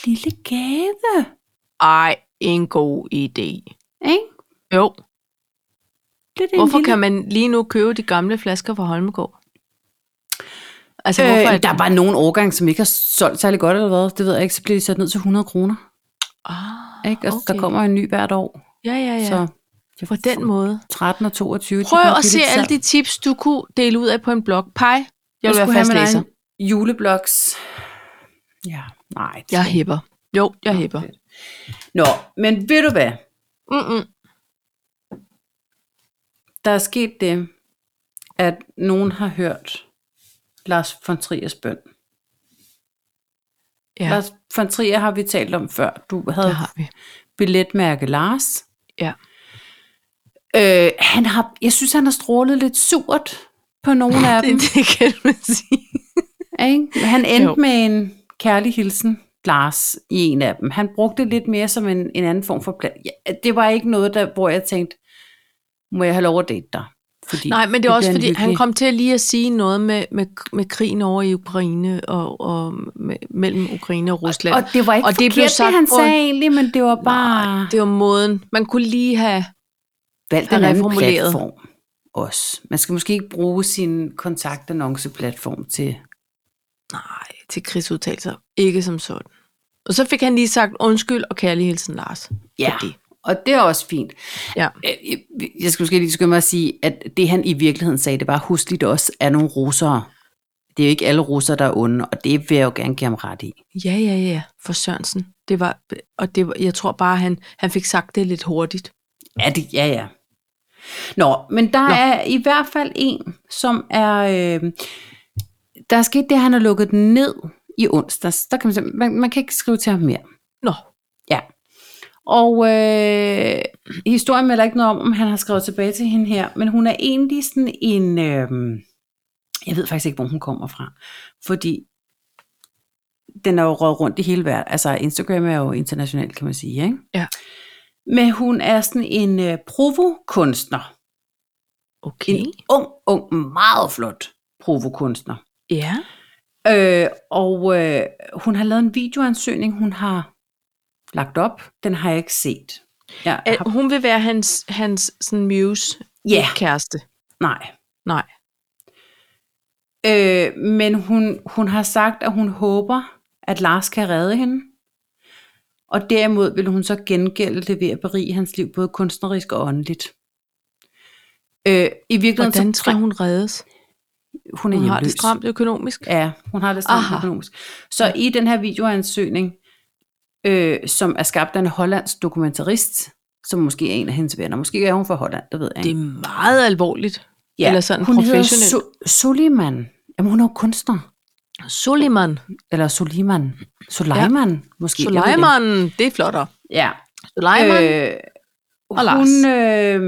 lille gave, Ej, en god idé. ikke? Jo, Bliver det en hvorfor lille... kan man lige nu købe de gamle flasker fra Holmegård? Altså, hvorfor Øh, er det... der er bare nogen årgang, som ikke har solgt særlig godt eller hvad. Det ved jeg ikke. Så bliver de sat ned til 100 kroner. Ah, Ikke? Og okay. okay. der kommer en ny hvert år. Ja, ja, Ja. ja. Så Så jeg på den måde. 13 og 22. de Prøv kommer at se billigt til alle salg. de tips, du kunne dele ud af på en blog. Pej, jeg vil skulle være have min fastlæser. egen Juleblogs. Ja, nej. det Jeg skal hæpper. Jo, jeg hæpper. fedt. Nå, men ved du hvad? Mm-mm. Der er sket det, at nogen har hørt Lars von Triers bøn. Ja. Ja, Lars von Trier har vi talt om før. Du havde det har vi. billetmærke Lars. Ja. Øh, han har, jeg synes, han har strålet lidt surt på nogle [laughs] af Det, dem. det kan man sige. Ikke? Men Han endte jo. Jo. med en kærlig hilsen, Lars, i en af dem. Han brugte det lidt mere som en, en anden form for plan. Ja, det var ikke noget, der, hvor jeg tænkte, må jeg have lov at date dig? Fordi Nej, men det er også bliver en fordi, han hyggelig- kom til lige at sige noget med, med, med krigen over i Ukraine og, og med, mellem Ukraine og Rusland. Og det var ikke og det Ah. blev forkert, det, sagt han på en- sagde egentlig, men det var bare... Nej, det var måden. Man kunne lige have... valgt har en anden reformuleret. platform også. Man skal måske ikke bruge sin kontaktannonceplatform til... Nej, til krigsudtalelser. Ikke som sådan. Og så fik han lige sagt undskyld og kærlig hilsen, Lars. Ja, For det. og det er også fint. Ja. Øh, Jeg skal måske lige skynde mig at sige, at det han i virkeligheden sagde, det var, husk lige, det også er nogle russere. Det er jo ikke alle russere, der er onde, og det vil jeg jo gerne give ham ret i. Ja, ja, ja, for Sørensen. Det var, og det var, jeg tror bare, han, han fik sagt det lidt hurtigt. Ja, det, ja, ja. Nå, men der Nå. Nå. er i hvert fald en, som er... Øh, der er sket det, at han har lukket den ned i onsdags. Der kan man, simpelthen- man, man kan ikke skrive til ham mere. Nå, Og øh, historien melder ikke noget om, om han har skrevet tilbage til hende her, men hun er egentlig sådan en... Øh, jeg ved faktisk ikke, hvor hun kommer fra, fordi den er jo røget rundt i hele verden. Altså, Instagram er jo internationalt, kan man sige, ikke? Ja. Men hun er sådan en øh, provokunstner. okay. En ung, ung, meget flot provokunstner. Ja. Øh, og øh, hun har lavet en videoansøgning, hun har lagt op. Den har jeg ikke set. Jeg har, At hun vil være hans, hans sådan muse ja, kæreste. nej. Nej. Øh, men hun, hun har sagt, at hun håber, at Lars kan redde hende. Og derimod vil hun så gengælde det ved at berige hans liv, både kunstnerisk og åndeligt. Øh, I virkeligheden Hvordan så, skal hun reddes? hun er Hun har det hjemløs. stramt økonomisk. Ja, hun har det stramt Aha. økonomisk. Så i den her videoansøgning, øh, som er skabt af en hollandsk dokumentarist, som måske er en af hendes venner. Måske er hun fra Holland, det ved jeg Det ikke. er meget alvorligt. eller sådan hun professionelt. Hedder Su- Suleiman. Jamen, hun er jo kunstner. Suleiman. Eller Suleiman. Suleiman, ja. måske. jeg ved det ikke. Suleiman, det er flottere. Ja. Suleiman. Øh, Øh, og Lars. Hun, øh,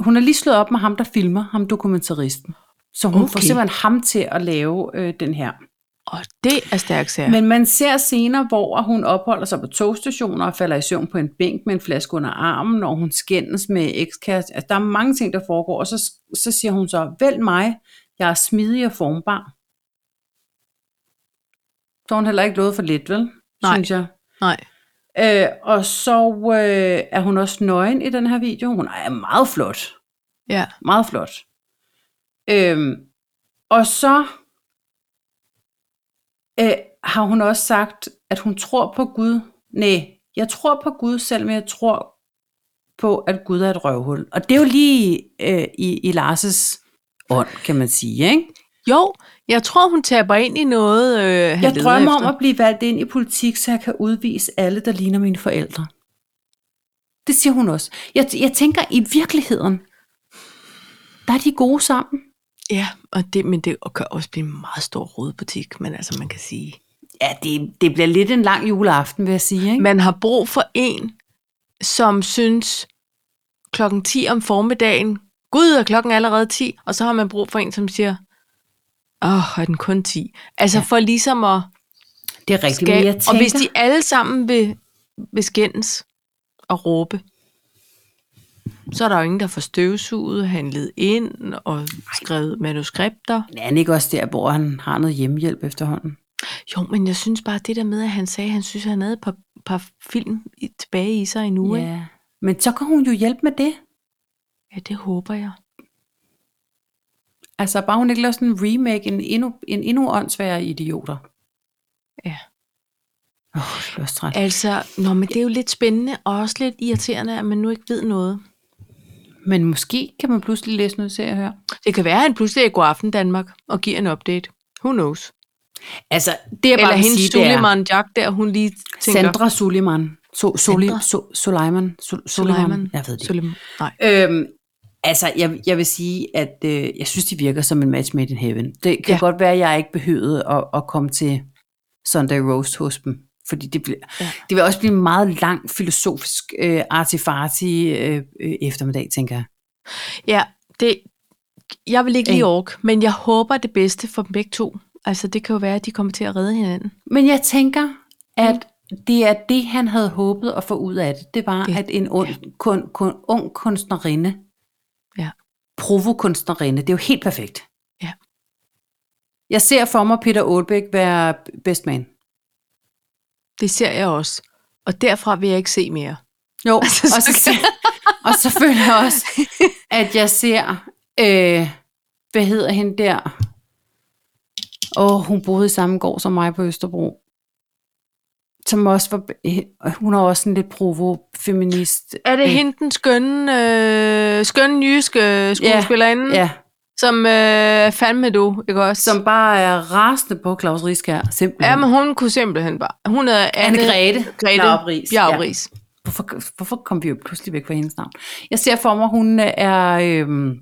hun er lige slået op med ham, der filmer, ham dokumentaristen. Så hun okay. får Okay. simpelthen ham til at lave øh, den her. og det er stærk sager. Men man ser scener, hvor hun opholder sig på togstationer og falder i søvn på en bænk med en flaske under armen, og hun skændes med ekskæreste. Altså, der er mange ting, der foregår, og så, så siger hun så, vælg mig, jeg er smidig og formbar. Så har hun heller ikke lovet for lidt, vel? Nej. Synes jeg. Nej. Øh, og så øh, er hun også nøgen i den her video. Hun er meget flot. Ja. Meget flot. Øhm, og så øh, har hun også sagt, at hun tror på Gud. Nej, jeg tror på Gud, selvom jeg tror på, at Gud er et røvhul. Og det er jo lige øh, i, i Lars' ånd, kan man sige, ikke? Jo, jeg tror, hun taber ind i noget, øh, han Jeg leder drømmer efter. om at blive valgt ind i politik, så jeg kan udvise alle, der ligner mine forældre. Det siger hun også. Jeg, jeg tænker, i virkeligheden, der er de gode sammen. Ja, og det, men det kan også blive en meget stor rodebutik, men altså man kan sige. Ja, det, det bliver lidt en lang juleaften, vil jeg sige. Ikke? Man har brug for en, som synes klokken 10 om formiddagen, gud, er klokken allerede 10, og så har man brug for en, som siger, åh, er den kun 10? Altså ja. for ligesom at det er rigtigt, men skabe, jeg tænker, og hvis de alle sammen vil, vil skændes og råbe, så er der jo ingen, der får støvsuget, handlet ind og skrevet manuskripter. Men er han ikke også der, hvor han har noget hjemmehjælp efterhånden? Jo, men jeg synes bare, det der med, at han sagde, at han synes, at han havde et par, par film i, tilbage i sig endnu. Ja. Ja. Men så kan hun jo hjælpe med det. ja, det håber jeg. Altså, bare hun ikke laver sådan en remake, en endnu, en endnu åndssværere idioter. Ja. Åh, oh, det er også træt. Altså, nå, men det er jo lidt spændende og også lidt irriterende, at man nu ikke ved noget. Men måske kan man pludselig læse noget serie her. Det kan være, at han pludselig er i god aften Danmark og giver en update. Who knows? Altså, det er Eller bare at hendes sige, det er Suleiman Jack der, hun lige tænker... Sandra Suleiman. So, Soli, Sandra? so, Suleiman. So, Suleiman. Jeg ved det. ikke. Suleiman. Nej. Øhm, altså, jeg, jeg vil sige, at øh, jeg synes, de virker som en match made in heaven. Det kan Ja. ja. godt være, at jeg ikke behøvede at, at komme til Sunday Roast hos dem. Fordi det, bliver, Ja. ja. det vil også blive en meget lang filosofisk øh, artifarti øh, øh, eftermiddag, tænker jeg. Ja, det, jeg vil ikke Ikke? lige orke, men jeg håber det bedste for dem begge to. Altså, det kan jo være, at de kommer til at redde hinanden. Men jeg tænker, at det er det, han havde håbet at få ud af det. Det var, Det- det, at en ung, ja. kun, kun, ung kunstnerinde, Ja. provokunstnerinde, det er jo helt perfekt. Ja. Jeg ser for mig Peter Aalbæk være best man. Det ser jeg også. Og derfra vil jeg ikke se mere. [laughs] Jo, Altså, og, så så ser, og så føler jeg [laughs] også, at jeg ser, øh, hvad hedder hende der? Åh, oh, hun boede i samme gård som mig på Østerbro. Som også var, øh, hun er også en lidt provo-feminist. Er det Øh, hende, den skønne, øh, skønne jyske skuespillerinde, Ja, som øh, fandme du, ikke også? Mm. som bare er rasende på Claus Rieskær, simpelthen. ja, men hun kunne simpelthen bare. Hun er Anne, Grete. Grete Bjarup-Riis, ja. Bjarup-Riis. hvorfor, hvorfor kom vi jo pludselig væk fra hendes navn? Jeg ser for mig, hun er øh,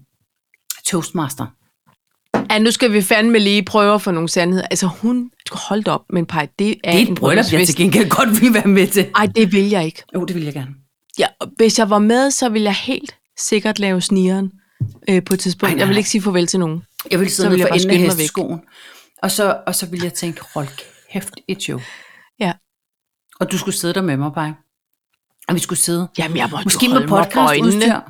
toastmaster. Ja, nu skal vi fandme lige prøve at få nogle sandheder. Altså, hun skal holde da op, men pej, det er, Det er en et bryllup, jeg til bryllupsfest. gengæld godt vil være med til. Ej, det vil jeg ikke. Jo, det vil jeg gerne. Ja, og hvis jeg var med, så ville jeg helt sikkert lave snigeren øh, på et tidspunkt. Ej, Ej, nej, jeg vil nej. ikke sige farvel til nogen. Jeg ville Så sidde ville ned jeg for bare skynde enden af mig væk. hesteskoen. Og så, og så ville jeg tænke, hold kæft, et show. Ja. Og du skulle sidde der med mig, bare. Og vi skulle sidde. Jamen, jeg måtte Måske jo med holde mig for øjnene. podcastudstyr.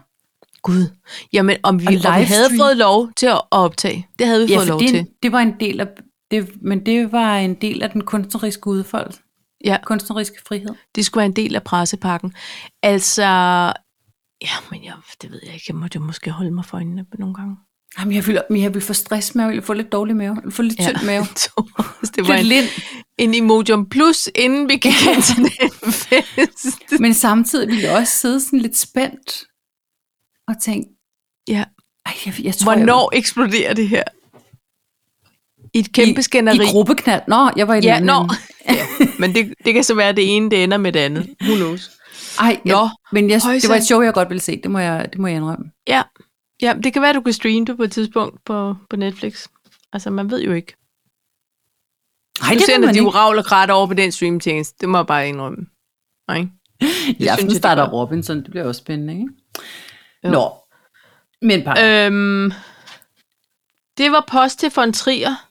Gud. Jamen, om vi, Og om vi havde livestream. fået lov til at optage. Det havde vi Ja, fået for lov det, til. det var en del af... Det, men det var en del af den kunstneriske udfold. Ja. Kunstneriske frihed. Det skulle være en del af pressepakken. Altså, ja, men jeg, det ved jeg ikke. Jeg måtte jo måske holde mig for øjnene nogle gange. Jamen, jeg ville, men jeg ville få stress med, jeg ville få lidt dårlig mave, jeg ville få lidt Ja. ja. tynd [laughs] mave. Thomas, det var Lidt en, lind. en Imodium Plus, inden vi gik ind til den fest. Men samtidig ville jeg også sidde sådan lidt spændt og tænke, [laughs] Ja. ej, jeg, jeg tror, Hvornår eksploderer det her? I et jeg, kæmpe skænderi. I, i gruppeknald. Nå, jeg var i den Ja, anden [laughs] nå. ende. ja. Men det, det kan så være, at det ene det ender med det andet. Who knows? Ej, Nå, jeg, men jeg, det højsand. var et show, jeg godt ville se. Det må jeg, det må jeg indrømme. Ja. ja, det kan være, at du kan streame det på et tidspunkt på, på Netflix. Altså, man ved jo ikke. Ej, Du det ser, vil når man de ikke. ravler krat over på den streamtjeneste. Det må jeg bare indrømme. Nej, ikke? I aften synes jeg, det starter gør. Robinson. Det bliver også spændende, ikke? Jo. Nå. Men par. Øh, Øhm, det var post til von Trier.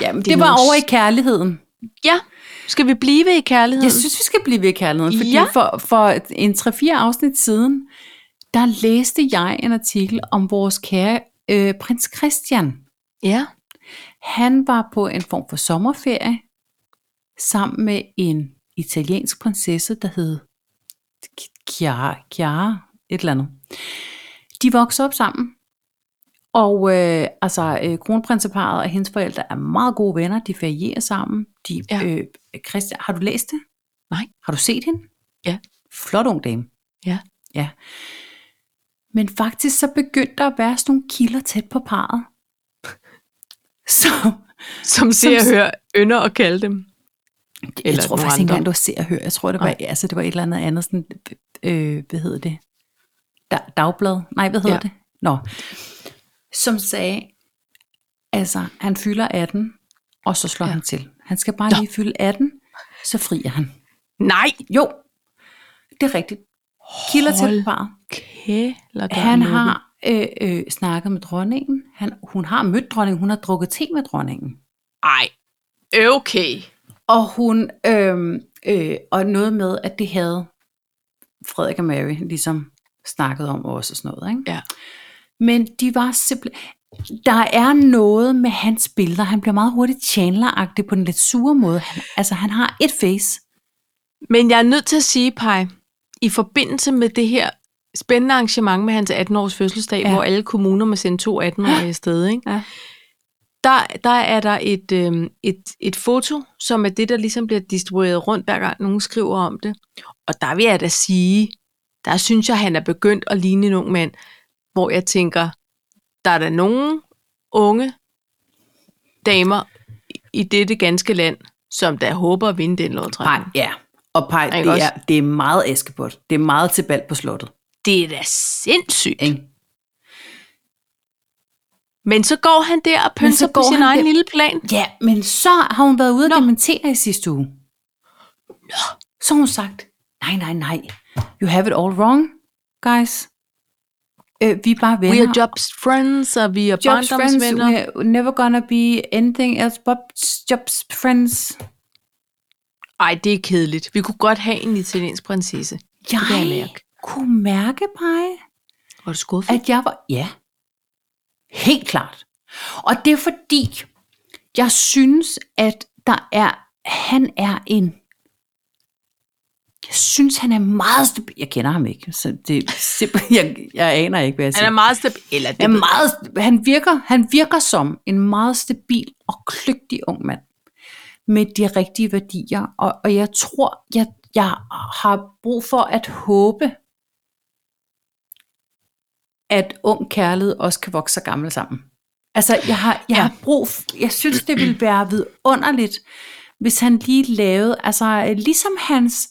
Jamen, det er det, var nogle over i kærligheden. Ja, skal vi blive i kærligheden? Jeg synes, vi skal blive ved kærligheden, fordi Ja. ja. for, for en 3-4 afsnit siden, der læste jeg en artikel om vores kære øh, prins Christian. Ja, Han var på en form for sommerferie sammen med en italiensk prinsesse, der hed Chiara, Chiara et eller andet. De voksede op sammen, og øh, altså, øh, kronprinseparet og hendes forældre er meget gode venner. De ferierer sammen. De, Ja. ja. øh, Christian, har du læst det? Nej. Har du set hende? Ja. Flot ung dame. Ja. Ja. Men faktisk så begyndte der at være sådan nogle kilder tæt på parret. [laughs] Som, Som ser og hører ynder at kalde dem. jeg Eller tror nogle faktisk ikke andre. engang, det var se og hør. Jeg tror, det var, Nej. altså, det var et eller andet andet, sådan, øh, hvad hedder det? Da, dagblad? Nej, hvad hedder Ja. ja. det? Nå. Som sagde, altså, han fylder 18, og så slår Ja. ja. han til. Han skal bare Nå. lige fylde 18, så frier han. Nej! Jo, det er rigtigt. Kilder Hold til parret. Kæler der Han med dem. har øh, øh, snakket med dronningen. Han, hun har mødt dronningen. Hun har drukket te med dronningen. Ej, okay. Og hun, øhm, øh, og noget med, at det havde Frederik og Mary ligesom snakket om også og sådan noget. Ikke? Ja. Men de var simpelthen... Der er noget med hans billeder. Han bliver meget hurtigt chandler på den lidt sure måde. Han, altså, han har et face. Men jeg er nødt til at sige, Paj, i forbindelse med det her spændende arrangement med hans 18-års fødselsdag, ja. Ja. hvor alle kommuner må sende to 18-årige afsted, ikke? Ja. Der, der er der et, øh, et, et foto, som er det, der ligesom bliver distribueret rundt, hver gang nogen skriver om det. Og der vil jeg da sige, der synes jeg, han er begyndt at ligne en ung mand, hvor jeg tænker, der er der nogen unge damer i- i dette ganske land, som der håber at vinde den lodtrækning. ja. Og pej, Ikke også? det er meget Askepot. Det er meget til bal på slottet. Det er da sindssygt. Ikke? Men så går han der og Men pynser så på går sin han egen der. lille plan. Ja, men så har hun været ude og dementere i sidste uge. Nå. Så har hun sagt, nej, nej, nej. You have it all wrong, guys. Øh, vi er bare venner. We are jobs friends, og vi er jobs friends. barndomsvenner. We're never gonna be anything else but jobs friends. Ej, det er kedeligt. Vi kunne godt have en italiensk prinsesse. Jeg kan jeg mærke. kunne mærke, Paj, Var du skuffet? at jeg var... Ja, helt klart. Og det er fordi, jeg synes, at der er... Han er en... Jeg synes, han er meget stabil. Jeg kender ham ikke, så det er simpelthen... [laughs] Jeg, jeg aner ikke, hvad jeg siger. Han er meget stabil. Eller det Han, er meget, han, virker, han virker som en meget stabil og kløgtig ung mand med de rigtige værdier. Og, og jeg tror, jeg, jeg har brug for at håbe, at ung kærlighed også kan vokse sig gammel sammen. Altså, jeg har, jeg Ja. ja. har brug, f- jeg synes, det ville være vidunderligt, hvis han lige lavede, altså øh, ligesom hans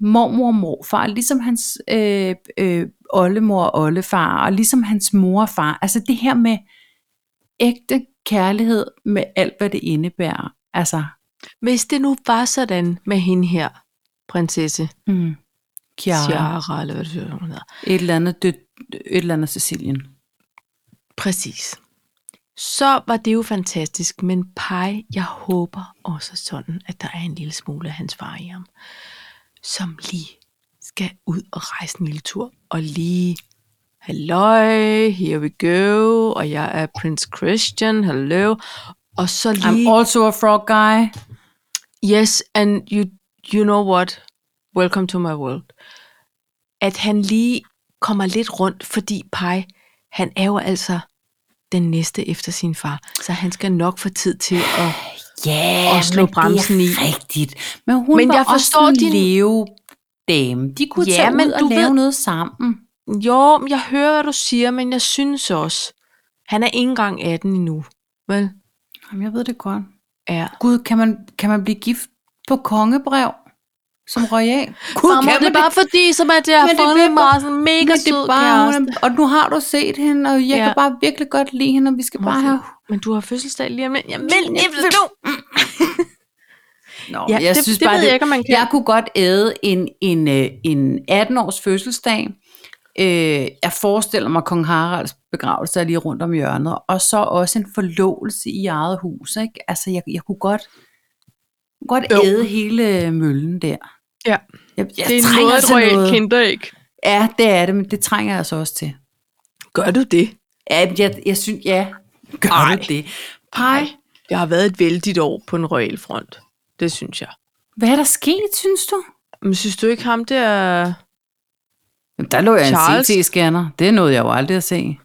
mormor og morfar, ligesom hans øh, øh, oldemor og oldefar, og ligesom hans mor og far, altså det her med ægte kærlighed med alt, hvad det indebærer. Altså, Hvis det nu var sådan med hende her, prinsesse mm, Chiara, Ciara, eller hvad det hedder, hun hedder. et eller andet, død, et eller andet Sicilien. Præcis. Så var det jo fantastisk, men Pai, jeg håber også sådan, at der er en lille smule af hans far i ham, som lige skal ud og rejse en lille tur, og lige, halløj, here we go, og jeg er Prince Christian, hello, og så lige, I'm also a frog guy. yes, and you, you know what, welcome to my world. At han lige kommer lidt rundt, fordi Pai, han er jo altså den næste efter sin far, så han skal nok få tid til at... Ja, og slå men bremsen i. det er rigtigt. Men hun Men var jeg forstår også din- en leve dame. De kunne Ja, ja, tage men ud og du lave ved- noget sammen. Jo, men jeg hører, hvad du siger, men jeg synes også, han er ikke engang 18 endnu, vel? Jamen, jeg ved det godt. Ja. Gud, kan man, kan man blive gift på kongebrev? Som [laughs] royal? Gud, Farmor, det er bare fordi, som at jeg har Men det er fundet det, hvor- mig sådan en mega Men det sød er bare, kæreste. hun er, og nu har du set hende, og jeg Ja. ja. kan bare virkelig godt lide hende, og vi skal bare have... Men du har fødselsdag lige om lidt. Jeg vil Jeg ikke vil- nu. [laughs] Nå, Ja, men jeg det- synes det bare, ved jeg ikke, om man kan. Jeg kunne godt æde en, en, øh, en 18-års fødselsdag. Øh, jeg forestiller mig, at kong Haralds begravelse er lige rundt om hjørnet. Og så også en forlovelse i eget hus. Ikke? Altså, jeg, jeg kunne godt, godt Jo. æde hele øh, møllen der. Ja. Jeg, jeg det er noget, til noget. kinderæg. Ja, det er det, men det trænger jeg altså også til. Gør du det? Ja, men jeg, jeg synes, ja, gør Ej. du det. Pej. Det har været et vældigt år på en royal front. Det synes jeg. Hvad er der sket, synes du? Men synes du ikke ham der... Jamen, der lå jeg Charles. en CT-scanner. Det nåede jeg jo aldrig at se.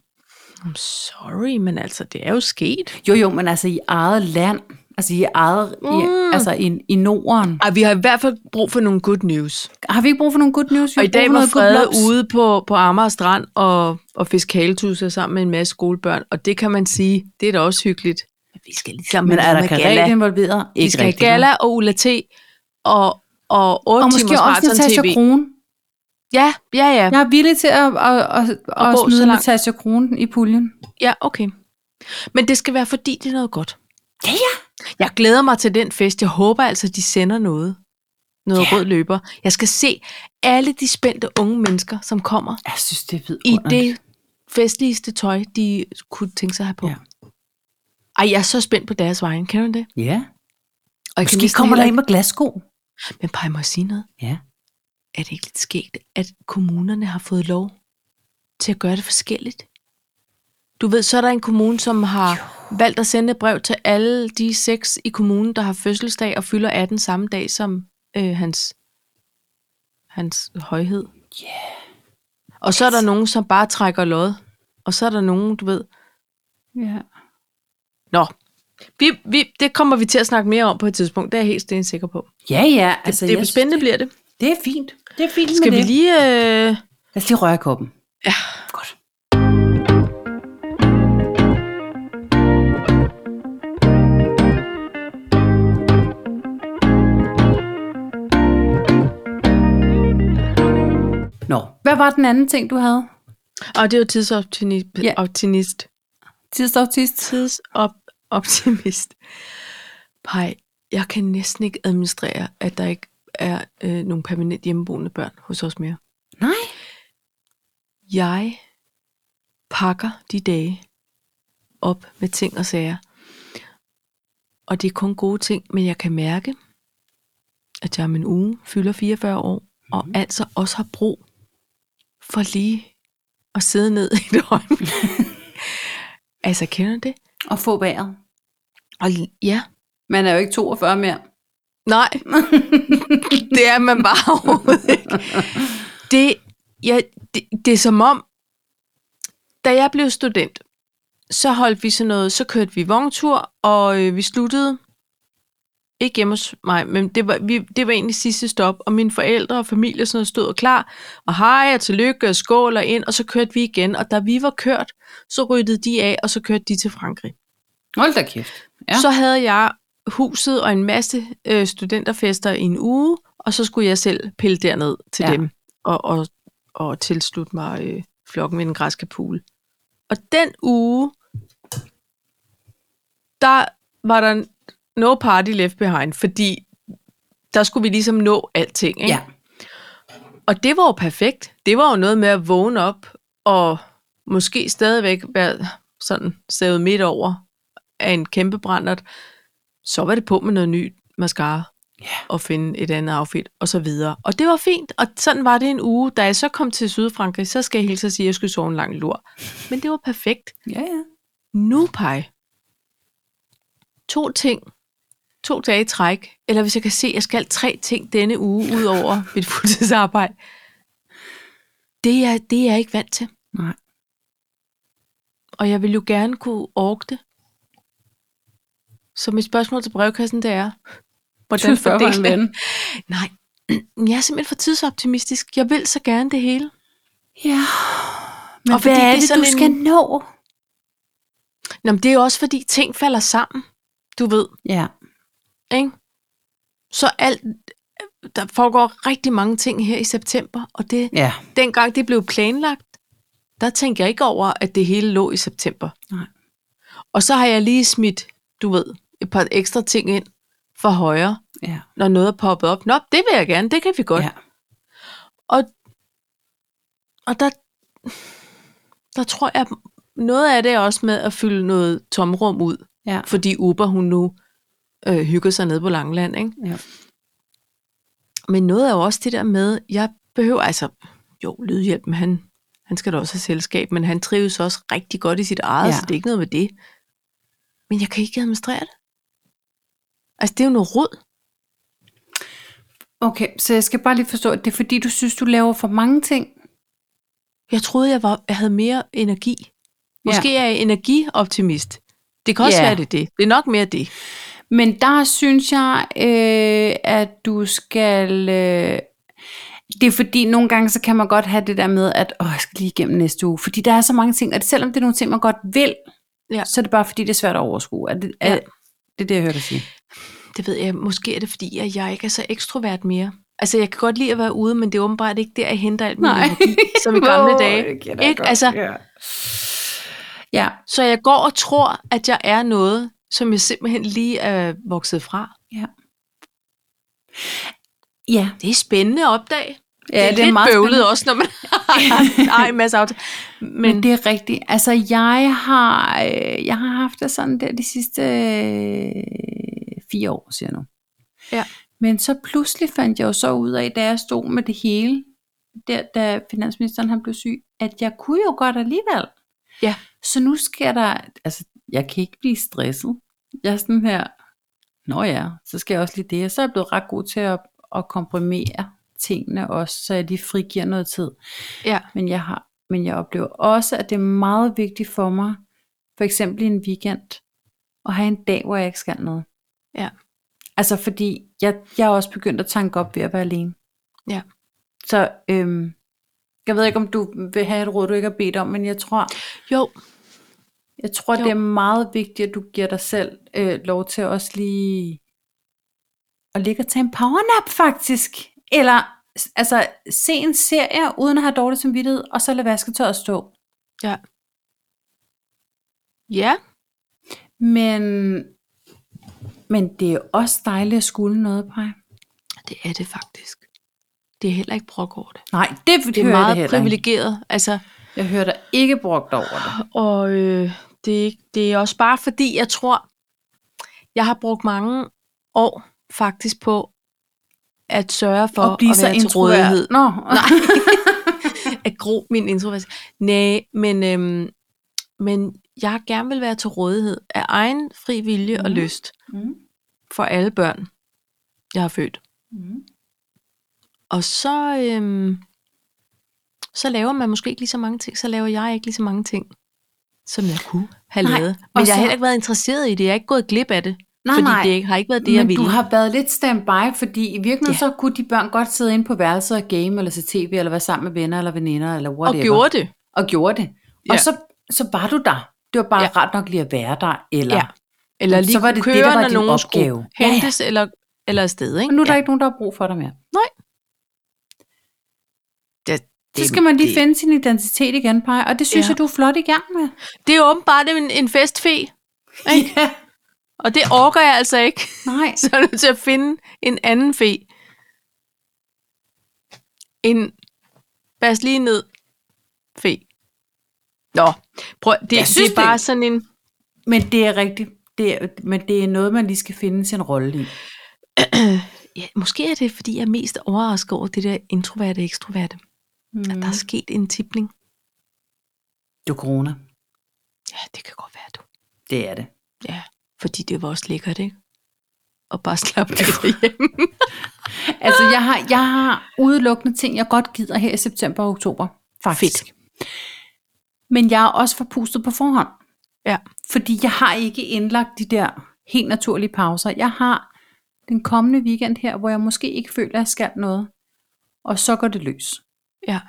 I'm sorry, men altså, det er jo sket. Jo, jo, men altså i eget land. Altså i eget... Mm. I, Mm. altså i, i Norden. Ej, vi har i hvert fald brug for nogle good news. Har vi ikke brug for nogle good news? Vi Og i har brug dag for var noget Frede good blobs. ude på, på Amager Strand og, og fiske haletusser sammen med en masse skolebørn. Og det kan man sige, det er da også hyggeligt. Vi skal ligesom Men er der karate gala. involveret? Vi skal have rigtig, vel? gala og Ulla T. Og, og 8 Og måske timers også Natasha maraton-tv. Kron. Ja, ja, ja. Jeg er villig til at, at, at, at, at gå smide så langt. Natasha Kron i puljen. Ja, okay. Men det skal være, fordi det er noget godt. Ja, ja. Jeg glæder mig til den fest. Jeg håber altså, de sender noget. Noget Ja. rød løber. Jeg skal se alle de spændte unge mennesker, som kommer Jeg synes, det er i vidunderligt. det festligste tøj, de kunne tænke sig at have på. Ja. Ja. Ej, jeg er så spændt på deres vejen. Kender du det? Ja. Og jeg Måske næsten kommer der heller en med glassko. ikke- Men Paj, må jeg sige noget? Ja. Er det ikke lidt skægt, at kommunerne har fået lov til at gøre det forskelligt? Du ved, så er der en kommune, som har valgt at sende et brev til alle de seks i kommunen, der har fødselsdag og fylder 18 samme dag som øh, hans, hans højhed. Ja. Og så er der nogen, som bare trækker lod. Og så er der nogen, du ved, ja. Nå, vi, vi, det kommer vi til at snakke mere om på et tidspunkt, det er jeg helt stensikker på. Ja, ja. Altså, det er jeg spændende, bliver det. synes, Det er fint. Det er fint Skal vi med det. lige... Øh... Lad os lige røre i koppen. Ja. Godt. Nå, hvad var den anden ting, du havde? Og det er jo tidsoptimist. Ja. Ja. Optimist. Tidsautist? Tidsoptimist. Pej, jeg kan næsten ikke administrere, at der ikke er øh, nogle permanent hjemmeboende børn hos os mere. Nej. Jeg pakker de dage op med ting og sager. Og det er kun gode ting, men jeg kan mærke, at jeg om en uge fylder 44 år, og altså også har brug for lige at sidde ned i et [laughs] øjeblik. altså, kender du det? Og få vejret. Og l- ja, Man er jo ikke 42 mere. nej, det er man bare overhovedet ikke. Det, ja, det, det er som om, da jeg blev student, så holdt vi sådan noget, så kørte vi vogntur, og øh, vi sluttede, ikke hjemme hos mig, men det var, vi, det var egentlig sidste stop, og mine forældre og familie og sådan noget stod og klar, og hej og tillykke og skål og ind, og så kørte vi igen, og da vi var kørt, så ryddede de af, og så kørte de til Frankrig. Hold da kæft. Ja. Ja. Så havde jeg huset og en masse øh, studenterfester i en uge, og så skulle jeg selv pille derned til Ja. ja. dem og, og, og tilslutte mig øh, flokken ved den græske pool. Og den uge, der var der no party left behind, fordi der skulle vi ligesom nå alting. Ikke? Ja. Og det var jo perfekt. Det var jo noget med at vågne op og måske stadigvæk være sådan savet midt over af en kæmpe brændert. Så var det på med noget nyt mascara Ja. og finde et andet outfit og så videre. Og det var fint, og sådan var det en uge. Da jeg så kom til Sydfrankrig, så skal jeg hilse og sige, at jeg skulle sove en lang lur. Men det var perfekt. Ja, ja. Nu, Pai. To ting. To dage i træk. Eller hvis jeg kan se, at jeg skal tre ting denne uge, ud over mit fuldtidsarbejde. Det er, det er jeg ikke vant til. Nej. Og jeg vil jo gerne kunne orke det. Så mit spørgsmål til brevkassen, det er, hvordan fordeler med jeg? den? [laughs] Nej, jeg er simpelthen for tidsoptimistisk. Jeg vil så gerne det hele. Ja. Men og Og hvad fordi er det er det, sådan du en- skal nå? Nå, men det er jo også, fordi ting falder sammen. Du ved, Ja. Ikke? Så alt, der foregår rigtig mange ting her i september, og det, Ja. dengang det blev planlagt, der tænkte jeg ikke over, at det hele lå i september. Nej. Og så har jeg lige smidt, du ved, et par ekstra ting ind for højre, Ja. når noget er poppet op. Nå, det vil jeg gerne, det kan vi godt. Ja. Ja. Og, og der, der tror jeg, noget af det er også med at fylde noget tomrum ud, Ja. fordi Uber, hun nu øh, hygger sig ned på Langland, ikke? ja. Men noget er jo også det der med, jeg behøver altså, jo, lydhjælpen, han, han skal da også have selskab, men han trives også rigtig godt i sit eget, Ja. ja. så det er ikke noget med det. Men jeg kan ikke administrere det. Altså, det er jo noget råd. Okay, så jeg skal bare lige forstå, at det er fordi, du synes, du laver for mange ting? Jeg troede, jeg, var, jeg havde mere energi. Måske er jeg energioptimist. Det kan også Ja. være, det er det. Det er nok mere det. Men der synes jeg, øh, at du skal... Øh, det er fordi, nogle gange, så kan man godt have det der med, at åh, jeg skal lige igennem næste uge. Fordi der er så mange ting, og selvom det er nogle ting, man godt vil, Ja. ja. så er det bare fordi, det er svært at overskue. Er det, er, Ja. ja. det er det, jeg hører dig sige. Det ved jeg. Måske er det, fordi at jeg ikke er så ekstrovert mere. Altså, jeg kan godt lide at være ude, men det er åbenbart ikke der, jeg henter alt min [laughs] energi, [laughs] som i gamle dage. Ikke? Altså, Ja. ja. Så jeg går og tror, at jeg er noget, som jeg simpelthen lige er vokset fra. Ja, Det er spændende at opdage. ja det er, lidt bøvlet spændende. også, [laughs] når man har haft en masse aftaler. Men, Men det er rigtigt. Altså, jeg har, øh, jeg har haft det sådan der de sidste øh, fire år, siger jeg nu. Ja. Men så pludselig fandt jeg jo så ud af, da jeg stod med det hele, der, da finansministeren han blev syg, at jeg kunne jo godt alligevel. Ja. Så nu skal der, altså, jeg kan ikke blive stresset. Jeg er sådan her, nå ja, så skal jeg også lige det. Og så er jeg blevet ret god til at, at komprimere tingene også, så jeg lige frigiver noget tid. ja, Men jeg, har, men jeg oplever også, at det er meget vigtigt for mig, for eksempel i en weekend, at have en dag, hvor jeg ikke skal noget. Ja. Altså fordi, jeg, jeg er også begyndt at tanke op ved at være alene. Ja. Så øhm, jeg ved ikke, om du vil have et råd, du ikke har bedt om, men jeg tror, jo, jeg tror Jo. det er meget vigtigt, at du giver dig selv øh, lov til også lige at ligge og tage en powernap faktisk. Eller s- altså, se en serie uden at have dårlig samvittighed, og så lade vasketøjet stå. ja. Ja, Men, men det er også dejligt at skulle noget, på. det er det faktisk. Det er heller ikke brok over det. Nej, det, Det er meget det privilegeret. Altså, Jeg hører dig ikke brugt over det. og øh, det, er ikke- det er også bare fordi, jeg tror, jeg har brugt mange år faktisk på at sørge for Og blive at så være til rådighed. introvert. [laughs] Nå, nej. at gro min introvert. Nej, men, øhm, men jeg gerne vil være til rådighed af egen fri vilje mm. og Mhm. lyst for alle børn, jeg har født. Og så, øhm, så laver man måske ikke lige så mange ting, så laver jeg ikke lige så mange ting, som jeg kunne have Nej, lavet. og Men jeg har så- heller ikke været interesseret i det, jeg er ikke gået glip af det, Nej, fordi nej. det ikke, har ikke været det, Det, jeg men du ville. har været lidt standby, fordi i virkeligheden ja. så kunne de børn godt sidde inde på værelset og game, eller se tv, eller være sammen med venner, eller veninder, eller Og whatever. gjorde det. og gjorde det. Ja. Og så, så var du der. Det var bare Ja. ja. ret nok lige at være der, eller... Ja. Eller Så lige var det det, køre, der var når din nogen skulle opgave. Ja, ja. hentes ja, ja. eller, eller afsted. Ikke? Og nu er der ja. ikke nogen, der har brug for dig mere. det, Så skal man lige det- finde sin identitet igen, Paj, og det synes Ja. ja. jeg, du er flot i gang med. Det er åbenbart en, en festfe, Ja. og det orker jeg altså ikke. Nej. [laughs] Så er jeg nødt til at finde en anden fe. En bas lige ned fe. Nå, prøv, det, Jeg det synes, er bare det- sådan en... Men det er rigtigt. Det er, men det er noget, man lige skal finde sin rolle i. [clears throat] Ja, måske er det, fordi jeg er mest overrasket over det der introverte og ekstroverte. Mm. At der er sket en tipning. Altså, Det er corona. Ja, det kan godt være, du. Det er det. Ja, fordi det var også lækkert, ikke? Og bare slappe lidt hjemme. Altså, jeg har, jeg har udelukkende ting, jeg godt gider her i september og oktober. Faktisk. Fedt. Men jeg er også forpustet på forhånd. Ja. Fordi jeg har ikke indlagt de der helt naturlige pauser. Jeg har den kommende weekend her, hvor jeg måske ikke føler, at jeg skal noget. Og så går det løs. Ja,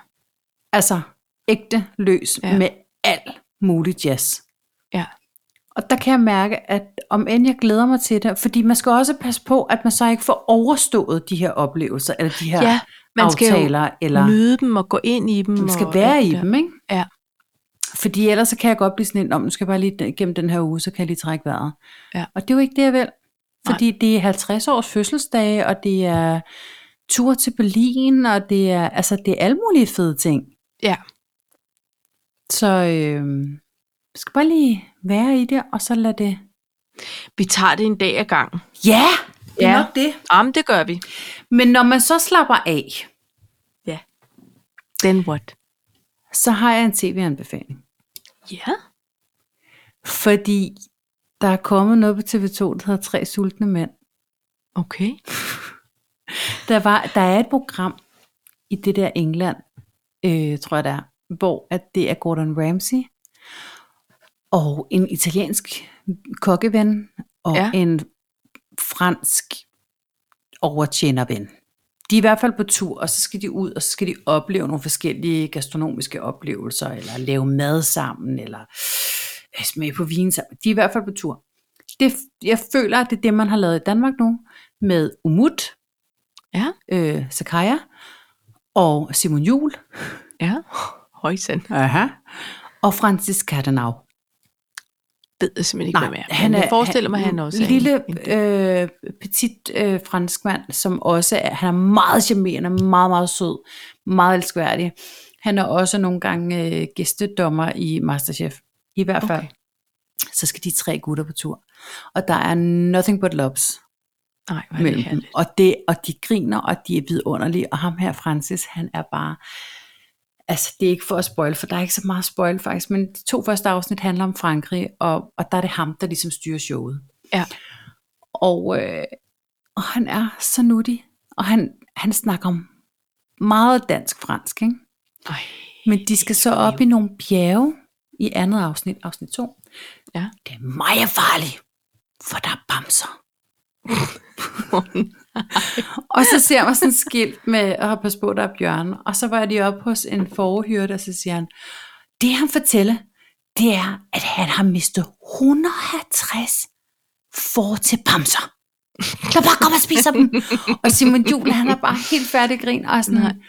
Altså, ægte løs Ja. ja. med al mulig jazz. ja. Og der kan jeg mærke, at om end jeg glæder mig til det, fordi man skal også passe på, at man så ikke får overstået de her oplevelser, eller de her Ja, ja, man man skal jo aftaler, skal eller Nyde dem og gå ind i dem. man skal og være alt i det der. dem, ikke? Ja. Fordi ellers så kan jeg godt blive sådan en, om nu skal jeg bare lige den- gennem den her uge, så kan jeg lige trække vejret. Ja. Og det er jo ikke det, jeg vil. Fordi Nej. det er 50 års fødselsdage, og det er tur til Berlin, og det er, altså, det er alle mulige fede ting. Ja. Så øh, jeg skal bare lige være i det, og så lade det... Vi tager det en dag ad gangen. Ja, det er Ja. nok det. Jamen, det gør vi. Men når man så slapper af, Then what? så har jeg en tv-anbefaling. Ja. Fordi der er kommet noget på TV2, der hedder Tre Sultne Mænd. Okay. Der, var, der er et program i det der England, øh, tror jeg der er, hvor at det er Gordon Ramsay og en italiensk kokkeven og Ja. ja. en fransk overtjenerven. De er i hvert fald på tur, og så skal de ud, og så skal de opleve nogle forskellige gastronomiske oplevelser, eller lave mad sammen, eller øh, smage på vin sammen. De er i hvert fald på tur. Det, jeg føler, at det er det, man har lavet i Danmark nu, med Umut, Ja. øh, Sakaya og Simon Jul Ja. Højsen. Aha. og Francis Kattenau. Ved jeg simpelthen ikke, hvem er. Han er jeg forestiller mig, at han også er en- lille, en del. øh, petit øh, franskmand, som også er, han er meget charmerende, meget, meget sød, meget elskværdig. Han er også nogle gange øh, gæstedommer i Masterchef, i hvert fald. Okay. Okay. Så skal de tre gutter på tur. Og der er nothing but loves Nej, hvor er mellem det dem. herligt. Og, det, og de griner, og de er vidunderlige. Og ham her, Francis, han er bare... Altså, det er ikke for at spoil, for der er ikke så meget spoil faktisk, men de to første afsnit handler om Frankrig, og, og der er det ham, der ligesom styrer showet. Ja. Og, øh, og han er så nuttig, og han, han snakker om meget dansk-fransk, ikke? Ej. Men de skal så op i nogle bjerge i andet afsnit, afsnit 2. Ja. Det er meget farligt, for der er bamser. [laughs] og så ser man sådan et skilt med at passe på, der er bjørne. Og så var de oppe hos en forhyrte, og så siger han, det han fortæller, det er, at han har mistet 150 får til bamser. Der bare kommer og spiser dem. Og Simon Juhl, han er bare helt færdig grin, og er sådan, Nej. Nej.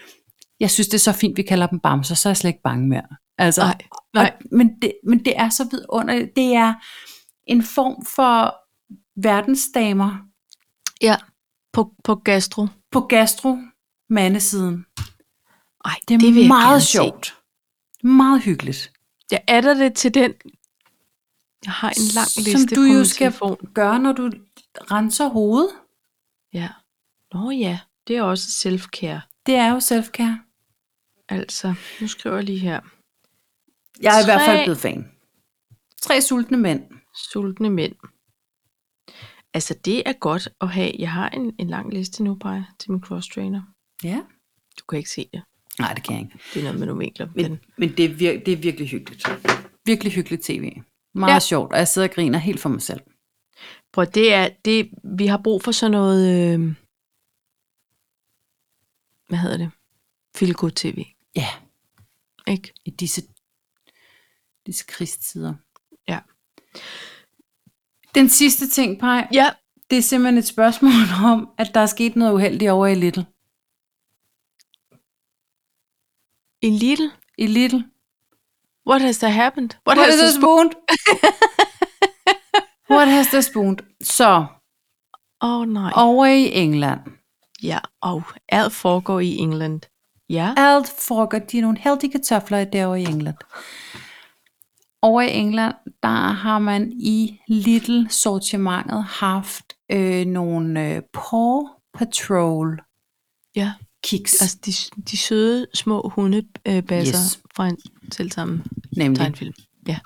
jeg synes, det er så fint, vi kalder dem bamser, så er jeg slet ikke bange mere. Altså, Nej, nej. Og, men, det, men det er så vidunderligt. Det er en form for verdensdamer Ja. På, på gastro. på gastro-mandesiden. Ej, Det er vil jeg meget gerne se. sjovt. Meget hyggeligt. Jeg adder det til den. Jeg har en lang Som liste på du jo min skal- telefon. Gør, når du renser hovedet. Ja. Nå ja, det er også self-care. Det er jo selfcare. Altså, nu skriver jeg lige her. Jeg er i hvert fald Tre- blevet fan. Tre sultne mænd. Sultne mænd. Altså, det er godt at have. Jeg har en, en lang liste nu, bare til min cross-trainer. Ja. Du kan ikke se det. Nej, det kan jeg ikke. Det er noget med nogle vinkler. på den. Men, men det, er vir- det er virkelig hyggeligt. Virkelig hyggeligt tv. Meget Ja. ja. sjovt, og jeg sidder og griner helt for mig selv. Prøv, det er, det, vi har brug for sådan noget, øh, hvad hedder det? Feel good tv, Ja, ikke? i disse, disse krigstider. Ja. Den sidste ting, Paj, Ja, det er simpelthen et spørgsmål om, at der er sket noget uheldigt over i Little. en little. I Little. What has there happened? What, What has has there this spooned? [laughs] What has this spooned? Så, Åh oh, nej. over i England. Ja, og alt foregår i England. Ja, Alt foregår. De er nogle heldige kartofler derovre i England. Over i England, der har man i Little sortimentet haft øh, nogle øh, Paw Patrol ja. kiks. Altså de, de søde små hundebasser yes. Yes. Mm. fra en selv sammen nemlig. tegnfilm. Ja.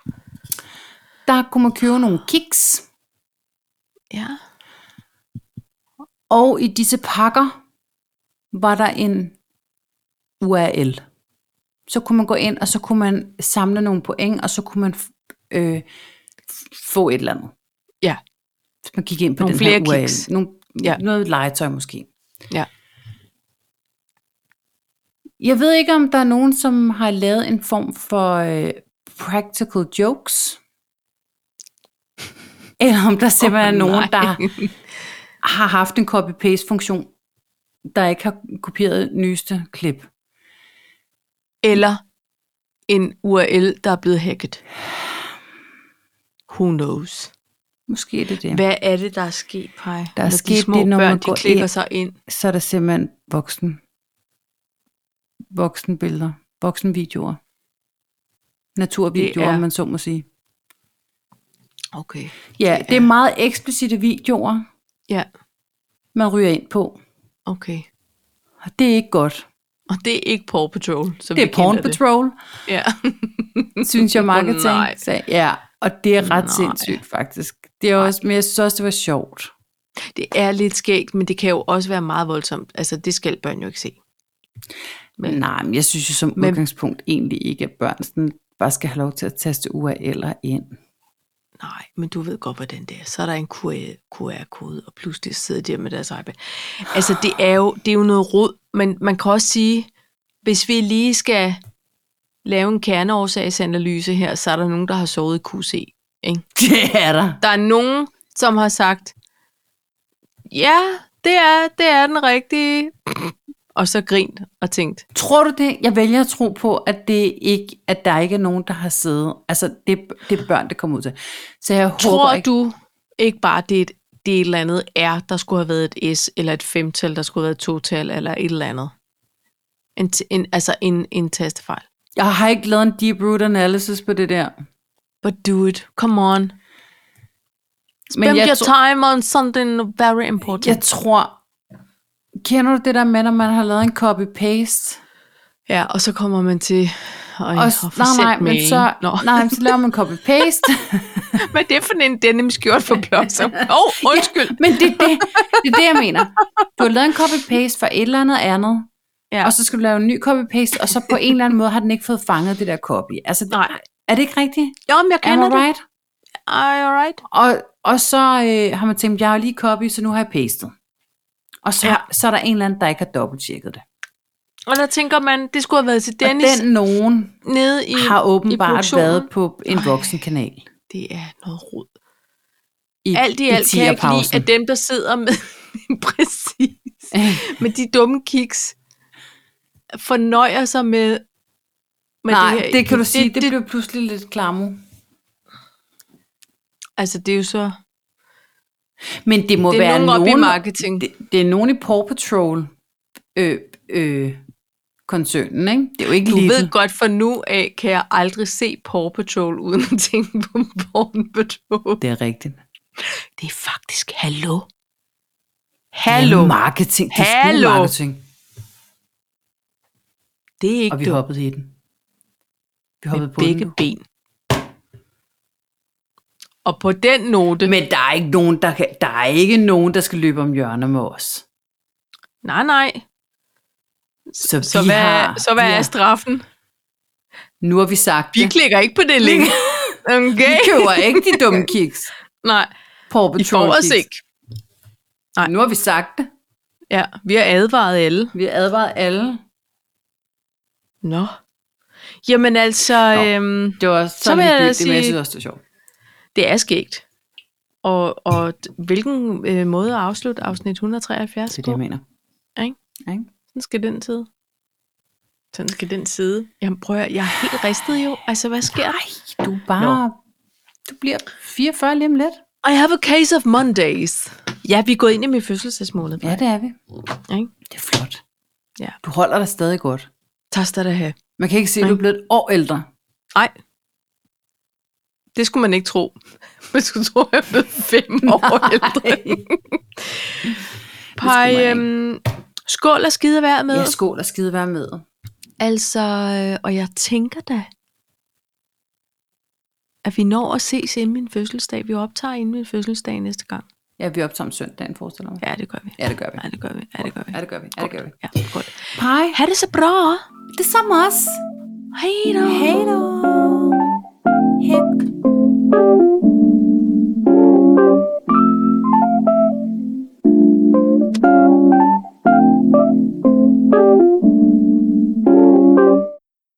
Der kunne man købe nogle kiks, Ja. og i disse pakker var der en URL. Så kunne man gå ind, og så kunne man samle nogle point, og så kunne man øh, få et eller andet. Ja. Hvis man gik ind på Nogle den flere her URL. kiks. Nogle, Ja. ja. Noget legetøj måske. Ja. Jeg ved ikke, om der er nogen, som har lavet en form for øh, practical jokes. [laughs] Eller om der simpelthen oh, er Åh, nogen, nej. der har haft en copy-paste-funktion, der ikke har kopieret nyeste [laughs] klip. Eller en URL, der er blevet hacket. Who knows? Måske er det det. Hvad er det, der er sket, Paj? er når de sket små det, når man børn, de går klikker ind. sig ind. Så er der simpelthen voksen. Voksenbilleder. Voksenvideoer. Naturvideoer, Det er- om man så må sige. Okay. Ja, Det det er- er meget eksplicite videoer, Ja, man ryger ind på. okay. Og det er ikke godt. Og det er ikke Paw Patrol, som Det vi er kender Porn Patrol, det. Ja. [laughs] synes jeg, marketing. Nej. sagde. Ja, og det er ret Nej. sindssygt faktisk. Det er også, men jeg synes også, det var sjovt. Det er lidt skægt, men det kan jo også være meget voldsomt. Altså, det skal børn jo ikke se. Men, Nej, men jeg synes jo som men, Men- udgangspunkt egentlig ikke, at børn sådan bare skal have lov til at taste URL'er ind. [laughs] Nej, men du ved godt, hvordan det er. Så er der en QR-kode, og pludselig sidder de der med deres iPad. Altså, det er jo, det er jo noget rod, men man kan også sige, hvis vi lige skal lave en kerneårsagsanalyse her, så er der nogen, der har sovet i QC. Ikke? Det er der. Der er nogen, som har sagt, ja, det er, det er den rigtige. Og så grint og tænkt, Tror du det? Jeg vælger at tro på, at, det ikke, at der ikke er nogen, der har siddet. Altså, det, det er børn, det kommer ud til. Så jeg håber Tror ikke, du ikke bare, det er, et, det er et eller andet R, der skulle have været et S, eller et femtal, der skulle have været et total, eller et eller andet? En, t- en, altså en, en tastefejl. jeg har ikke lavet en deep root analysis på det der. But do it. Come on. Spend Men jeg, your tro- time on something very important. jeg tror... Kender du det der med, når man har lavet en copy-paste? ja, og så kommer man til at og, Og, s- nej, nej, men så, Nå. [laughs] nej, men så laver [laughs] man copy-paste. Hvad er det for en denim skjort [laughs] for blåser? Åh, oh, undskyld. Men det, er det, det er det, jeg mener. Du har lavet en copy-paste for et eller andet andet, Ja. ja. og så skal du lave en ny copy-paste, og så på en eller anden måde har den ikke fået fanget det der copy. Altså, det, Nej. er det ikke rigtigt? Jo, men jeg Am kender I det. right? Ej, all right. Og, og så øh, har man tænkt, jeg har lige copy, så nu har jeg pastet. Og så, Ja. ja. så er der en eller anden, der ikke har dobbelttjekket det. Og der tænker man, det skulle have været til Dennis, Dennis og den nogen nede i har i åbenbart produktionen. været på en Ej. voksen kanal. Det er noget rod. I, Alt i alt kan jeg ikke lide, [laughs] tierpausen. at dem, der sidder med, [laughs] præcis, med de dumme kiks, fornøjer sig med, med Nej, det det, her. kan du sige, det, det det, blev pludselig lidt klamme. Altså, det er jo så... Men det må Det er være nogen oppe i nogen, marketing. det, det er nogen i Paw Patrol øh, øh, koncernen, ikke? Det er jo ikke Du Lidl. ved godt, for nu af kan jeg aldrig se Paw Patrol uden at tænke på [laughs] Paw Patrol. Det er rigtigt. Det er faktisk hallo. Det er Hallo. marketing. Det er Hallo. Hallo. marketing. Det er ikke Og vi dumt. hoppede i den. Vi hoppede med på den. begge ben. Og på den note... Men der er ikke nogen, der, kan, der er ikke nogen, der skal løbe om hjørner med os. Nej, nej. Så, Så vi hvad, har, så hvad vi er straffen? Nu har vi sagt Vi det. klikker ikke på det link. Vi [laughs] Okay. køber ikke de dumme kiks. [laughs] Nej, Paw I får Patrol os kiks. ikke. Nu har vi sagt det. Ja, vi har advaret alle. Vi har advaret alle. Nå. Jamen altså, Nå. Øhm, Det var sådan, vil jeg da det, det, sige- jeg synes også, det er sjovt. det er skægt. Og, og d- hvilken øh, måde at afslutte afsnit 173 Det er på? det, jeg mener. Ikke? Ikke? Sådan skal den sidde. Sådan skal den sidde. Jamen prøv at, høre, jeg er helt ristet jo. Altså, hvad sker der? Du er bare... Du bliver 44 lige om lidt. I have a case of Mondays. Ja, vi er gået ind i min fødselsdagsmåned. Ja, det er vi. Ikke? Det er flot. Ja. Du holder dig stadig godt. Tak skal du have. Man kan ikke se, at du er blevet et år ældre. [laughs] Nej. Det skulle man ikke tro. [laughs] Man skulle tro, at jeg blev [laughs] fem år ældre. man [laughs] Pej, ikke. øhm, skål og skide vær med. Ja, skål og skide være med. Altså, øh, og jeg tænker da, at vi når at ses inden min fødselsdag. Vi optager inden min fødselsdag næste gang. Ja, vi optager om søndagen, forestiller mig. Ja, det gør vi. Ja, det gør vi. Ja, det gør vi. Ja, det gør vi. Ja, det gør vi. Ja, det gør vi. Ja, godt. Hej. Ha' det så bra. Det er samme os. Hej da. Hej då. Hej.